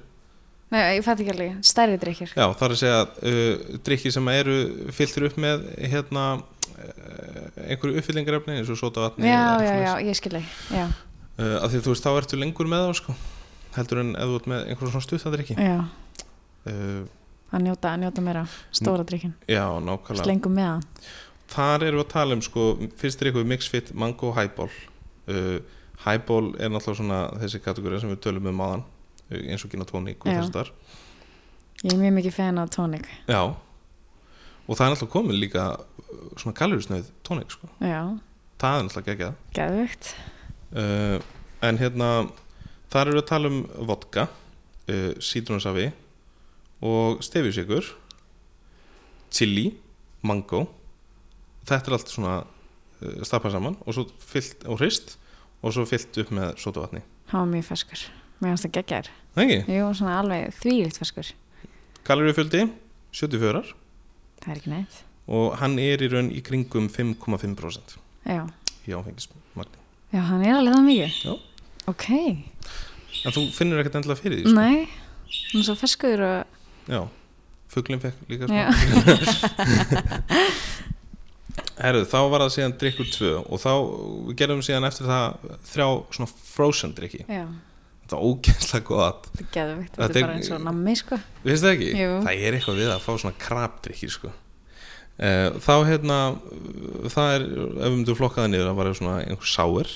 [SPEAKER 2] Nei, ég fætti ekki alveg, stærri drikkir.
[SPEAKER 1] Já, það er að segja uh, drikkir sem eru fylltir upp með hérna uh, einhverju uppfyllingarefni eins og sota vatni
[SPEAKER 2] Já, já, já, ég skilji, já,
[SPEAKER 1] Uh, af því að þú veist, þá ertu lengur með þá sko. heldur en ef þú ert með einhverjum svona stuðadrykki
[SPEAKER 2] já,
[SPEAKER 1] uh,
[SPEAKER 2] að njóta, að njóta meira,
[SPEAKER 1] Mm.
[SPEAKER 2] stóra drikkin,
[SPEAKER 1] já, nákvæmlega
[SPEAKER 2] slengu með hann.
[SPEAKER 1] Þar erum við að tala um sko, fyrst er eitthvað mixfit mango highball uh, highball er náttúrulega svona þessi kategóri sem við tölum um aðan eins og gina tóník og
[SPEAKER 2] Já.
[SPEAKER 1] þess þar
[SPEAKER 2] Ég er mjög mikið fæn af tónik,
[SPEAKER 1] já og það er náttúrulega komið líka uh, svona kalorisnöð tóník sko.
[SPEAKER 2] já,
[SPEAKER 1] það er náttúrulega geggjað
[SPEAKER 2] geðvögt,
[SPEAKER 1] uh, en hérna þar erum við að tala um vodka uh, sítrunasafi og stefjusikur chili, mango þetta er allt svona uh, stappað saman og svo fyllt og hrist og svo fyllt upp með sótavatni
[SPEAKER 2] hann var mjög ferskur, mér finnst það geggjar.
[SPEAKER 1] það ekki,
[SPEAKER 2] Jú, svona alveg þvílitt ferskur,
[SPEAKER 1] kalorifjöldi 74
[SPEAKER 2] það er ekki neitt,
[SPEAKER 1] og hann er í raun í kringum 5,5%
[SPEAKER 2] já,
[SPEAKER 1] í áfengismagni
[SPEAKER 2] já, hann er alveg það mikið.
[SPEAKER 1] Já.
[SPEAKER 2] Ok,
[SPEAKER 1] en þú finnur ekkert endilega fyrir því sko?
[SPEAKER 2] nei, hann er svo ferskur og,
[SPEAKER 1] Já, fugglinn fekk líka
[SPEAKER 2] Já.
[SPEAKER 1] <laughs> smá Herðu, þá var það síðan drikkur tvö og þá við gerðum síðan eftir það þrjá svona frozen drikki
[SPEAKER 2] já,
[SPEAKER 1] þetta var ógeðslega gott
[SPEAKER 2] það er
[SPEAKER 1] Þetta
[SPEAKER 2] geðvögt,
[SPEAKER 1] er-
[SPEAKER 2] þetta er bara eins og nammi, sko.
[SPEAKER 1] Við finnst það ekki?
[SPEAKER 2] Jú.
[SPEAKER 1] Það er eitthvað við að fá svona krabdrykki sko. Eh, Þá hérna það er, ef við myndum flokka það niður það var svona einhver sáir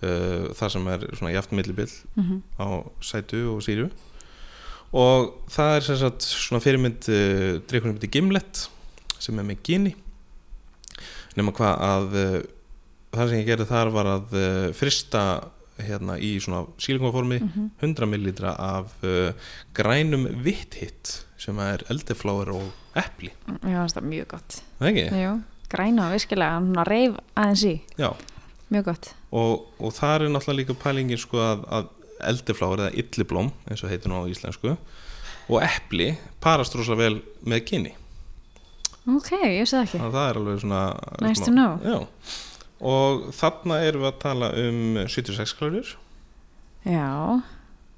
[SPEAKER 1] uh, það sem er svona jaft millibill
[SPEAKER 2] Mm -hmm.
[SPEAKER 1] á sætu og síru og það er sem sagt svona fyrirmynd uh, drikkunum myndi Gimlet sem er með gini nema hvað að uh, það sem ég gerði þar var að uh, frista hérna í svona sílingaformi
[SPEAKER 2] Mhm.
[SPEAKER 1] 100 millilitra af uh, grænum vithitt sem er eldifláir og epli
[SPEAKER 2] Mér finnst það mjög gott.
[SPEAKER 1] það ekki?
[SPEAKER 2] Jú, græna og virkilega, hann svona reyf aðeins í,
[SPEAKER 1] Já,
[SPEAKER 2] mjög gott.
[SPEAKER 1] og, og það er náttúrulega líka pælingin sko að, að eldifláir eða illiblóm eins og heitir nú á íslensku og epli parast rosalega vel með kyni
[SPEAKER 2] Ok, ég sé það ekki.
[SPEAKER 1] þannig að það er alveg svona
[SPEAKER 2] Nice to
[SPEAKER 1] svona,
[SPEAKER 2] know.
[SPEAKER 1] já. og þarna erum við að tala um 76 kalorjur
[SPEAKER 2] Já,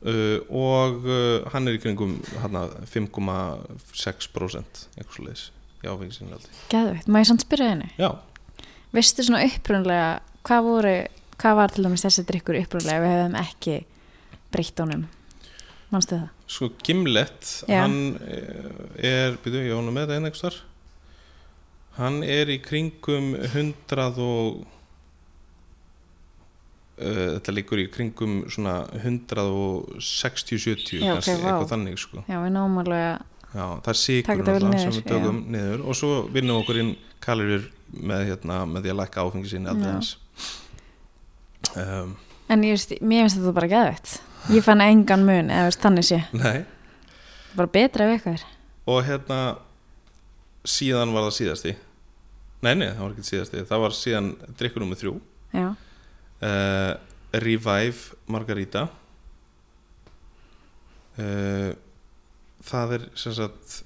[SPEAKER 1] uh, og uh, hann er í kringum hérna, hana, 5,6% eitthvað svo leiðis í áfengisinlega
[SPEAKER 2] geðveitt. Má ég samt spyrja henni?
[SPEAKER 1] já,
[SPEAKER 2] Veistu svona upprunlega, hvað voru, hvað var til dæmis þessi drikkur upprunlega ef við hefðum ekki breytt honum? Manstu það?
[SPEAKER 1] Sko Gimlet
[SPEAKER 2] Já.
[SPEAKER 1] hann eh, er, byrju, ég ánum með þetta einn einhvers þar hann er í kringum 100 og uh, þetta liggur í kringum svona 160-70
[SPEAKER 2] Já, ok,
[SPEAKER 1] kannski,
[SPEAKER 2] vá.
[SPEAKER 1] eitthvað þannig sko
[SPEAKER 2] Já, við náum alveg að,
[SPEAKER 1] Já, það er
[SPEAKER 2] Taka
[SPEAKER 1] sigur
[SPEAKER 2] þetta
[SPEAKER 1] náttúrulega
[SPEAKER 2] vel
[SPEAKER 1] sem
[SPEAKER 2] niður,
[SPEAKER 1] við tökum niður og svo vinnum okkur inn kalorir með, hérna, með því að lækka áfengi sinni
[SPEAKER 2] Já.
[SPEAKER 1] alltaf eins um,
[SPEAKER 2] en ég veist, mér finnst þetta bara geðveitt. Ég fann engan mun, eða veist, þannig sé.
[SPEAKER 1] Nei
[SPEAKER 2] Bara betra ef eitthvað er.
[SPEAKER 1] og hérna síðan var það síðasti nei, nei, það var ekki síðasti það var síðan drikkur nummið þrjú
[SPEAKER 2] Já,
[SPEAKER 1] uh, Revive Margarita uh, það er sem sagt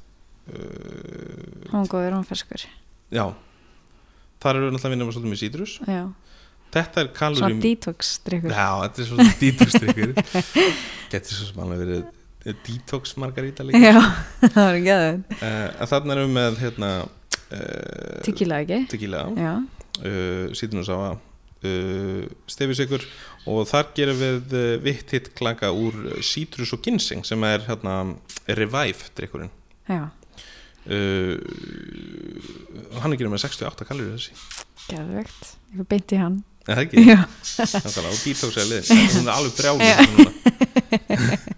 [SPEAKER 1] uh,
[SPEAKER 2] hún var góður, hún var ferskur.
[SPEAKER 1] já þar eru náttúrulega vinnum að svolítið með sítrus
[SPEAKER 2] Já,
[SPEAKER 1] þetta er
[SPEAKER 2] svona
[SPEAKER 1] kalorum
[SPEAKER 2] detox drikkur.
[SPEAKER 1] já, þetta er svolítið detox
[SPEAKER 2] <laughs>
[SPEAKER 1] drikkur getur svo sem alveg verið eh, detox Margarita líka
[SPEAKER 2] <laughs> Já, það var geðveitt.
[SPEAKER 1] uh, en þarna erum við með hérna uh,
[SPEAKER 2] Tykilega ekki?
[SPEAKER 1] tequila
[SPEAKER 2] Já,
[SPEAKER 1] uh, sítrunusafa uh, stefisikur og þar gerum við uh, vitt hitt klaka eh, úr sítrus og ginseng sem er hérna revive drikkurinn
[SPEAKER 2] já.
[SPEAKER 1] uh, hann er ekki með 68 kalori þessi
[SPEAKER 2] Geðvegt, ég fyrir beint í hann
[SPEAKER 1] er það
[SPEAKER 2] <laughs>
[SPEAKER 1] ekki,
[SPEAKER 2] Já,
[SPEAKER 1] þetta er á dítóksæli hún er alveg brjálið <laughs>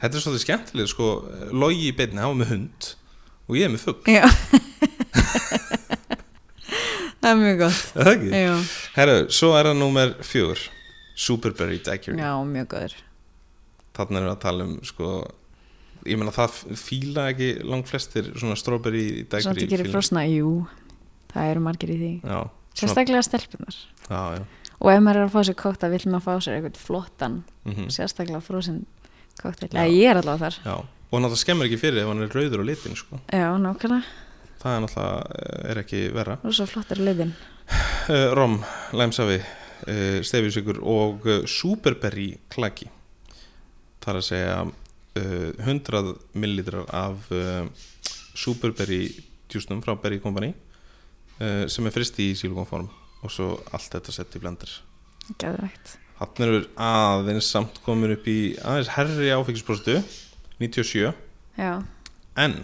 [SPEAKER 1] þetta er svolítið skemmtileg sko, logi í beinni, hann var með hund og ég er með fugg,
[SPEAKER 2] já <laughs> Það er mjög gott
[SPEAKER 1] er það ekki
[SPEAKER 2] Já,
[SPEAKER 1] herru, svo er það númer fjögur Superburied Accurate
[SPEAKER 2] já mjög góður
[SPEAKER 1] þarna erum við að tala um sko, ég meina það fíla ekki langflestir svona strawberry dækri
[SPEAKER 2] Svona þetta gerir frosna, jú Það eru margir í því
[SPEAKER 1] já, svona,
[SPEAKER 2] Sérstaklega stelpunar
[SPEAKER 1] já, já.
[SPEAKER 2] Og ef maður er að fá sér kókta vill maður fá sér eitthvað flottan
[SPEAKER 1] Mm
[SPEAKER 2] Sérstaklega frosin kókta
[SPEAKER 1] Já.
[SPEAKER 2] Já, ég er allavega þar
[SPEAKER 1] já og náttúrulega skemmir ekki fyrir ef hann er rauður á litin sko.
[SPEAKER 2] Já, nákvæmlega,
[SPEAKER 1] það er náttúrulega eh, er ekki verra
[SPEAKER 2] og svo flottar liðin
[SPEAKER 1] uh, Rom, Læmsafi uh, Stefjusykur og uh, Superberry klaki það er að segja uh, 100 millilitrar af uh, Superberry djúsnum frá Berry Company uh, sem er frist í sílukonform og svo allt þetta sett í blendur
[SPEAKER 2] Geðvegt
[SPEAKER 1] hann eru aðeins samt komin upp í aðeins herri áfengisprostu 97
[SPEAKER 2] Já,
[SPEAKER 1] en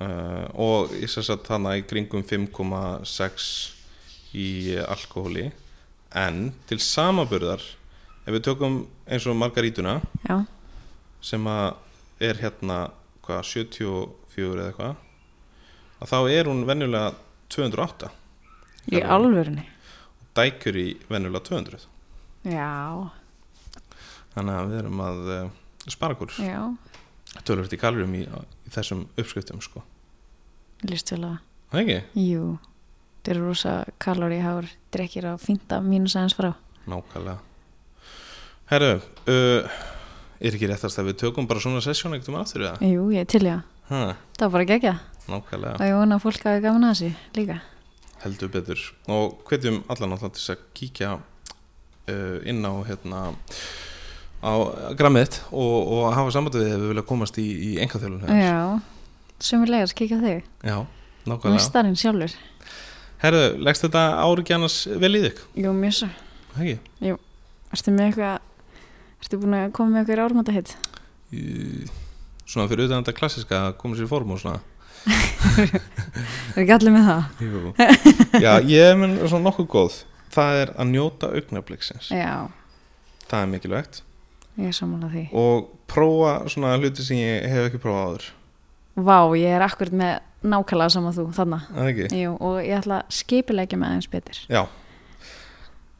[SPEAKER 1] uh, og ég sess að þannig í kringum 5,6 í alkohóli en til samaburðar ef við tökum eins og margarítuna
[SPEAKER 2] já,
[SPEAKER 1] sem að er hérna hvað, 74 eða eitthvað að þá er hún venjulega 208
[SPEAKER 2] í
[SPEAKER 1] Já.
[SPEAKER 2] alvörunni
[SPEAKER 1] dækjur í venjulega 200
[SPEAKER 2] Já,
[SPEAKER 1] þannig að við erum að uh, spara okkur
[SPEAKER 2] já,
[SPEAKER 1] tölvöld í kalorum í, í þessum uppskriftum sko,
[SPEAKER 2] líst vel að
[SPEAKER 1] það ekki?
[SPEAKER 2] Jú, þetta eru rosa kalori hár drekkir á fínta mínus aðeins frá
[SPEAKER 1] Nákvæmlega Herru, uh, er ekki réttast að við tökum bara svona sessjón ekkert um aftur eða?
[SPEAKER 2] Jú, ég er til ég að
[SPEAKER 1] Ha,
[SPEAKER 2] Það var bara gegja
[SPEAKER 1] nákvæmlega,
[SPEAKER 2] og ég vona að fólk hafi gaman að þessu líka
[SPEAKER 1] heldur betur og hvetjum allan alltaf til þess að kíkja uh, inn á hérna á grammið og, og hafa sambandi við ef við vilja komast í, í engaþjálun
[SPEAKER 2] Já, sumulegar kikja á þig
[SPEAKER 1] Já, nákvæmlega
[SPEAKER 2] Mestarinn sjálfur
[SPEAKER 1] Herru, leggst þetta ári ekki annars vel í þig?
[SPEAKER 2] Jú, mjög svo
[SPEAKER 1] Hegi?
[SPEAKER 2] Ertu með eitthvað Ertu búin að koma með eitthvað ármáta hitt?
[SPEAKER 1] Svona fyrir utan þetta klassiska að koma sér í form og svona
[SPEAKER 2] Er ekki allir með það?
[SPEAKER 1] Jú. Já, ég menn svona nokkuð góð það er að njóta augnabliksins
[SPEAKER 2] Já,
[SPEAKER 1] það er mikilvægt
[SPEAKER 2] ég er sammála því
[SPEAKER 1] og prófa svona hluti sem ég hef ekki prófað áður
[SPEAKER 2] Vá, ég er akkurat með nákvæmlega sama þú þarna
[SPEAKER 1] Er það ekki?
[SPEAKER 2] Jú, og ég ætla að skipilegja með aðeins betur
[SPEAKER 1] Já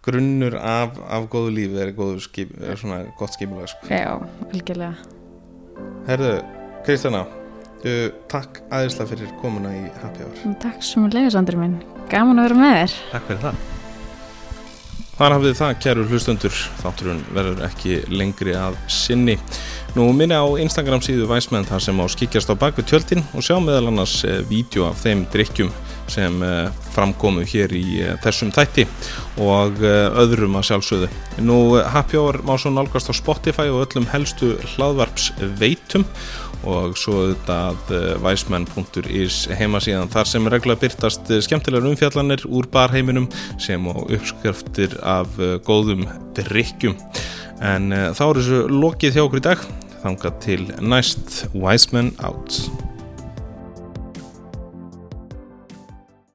[SPEAKER 1] grunnur af, af góðu lífi er, góðu skip, er svona gott skipulag sko.
[SPEAKER 2] Já, algjörlega
[SPEAKER 1] Herðu, Kristjana uh, takk aðeinslega fyrir komuna í Happy Hour
[SPEAKER 2] Takk sumulegar, Andri minn Gaman að vera með þér
[SPEAKER 1] Takk fyrir það Þar hafið þið það, kæru hlustundur, þátturinn verður ekki lengri að sinni. Nú minna á Instagram síðu Væsmenn þar sem á skikjast á bakvið tjöldin og sjá meðal annars eh, vídeo af þeim drikkjum sem eh, framkomu hér í eh, þessum þætti og eh, öðrum að sjálfsögðu. Nú eh, Happy Hour má svo nálgast á Spotify og öllum helstu hlaðvarpsveitum og svo auðvitað eh, væsmenn.is heimasíðan þar sem regla byrtast eh, skemmtilegar umfjallanir úr barheiminum sem og uppskriftir af eh, góðum drikkjum en eh, þá er þessu lokið hjá okkur í dag þangað til næst Væsmenn out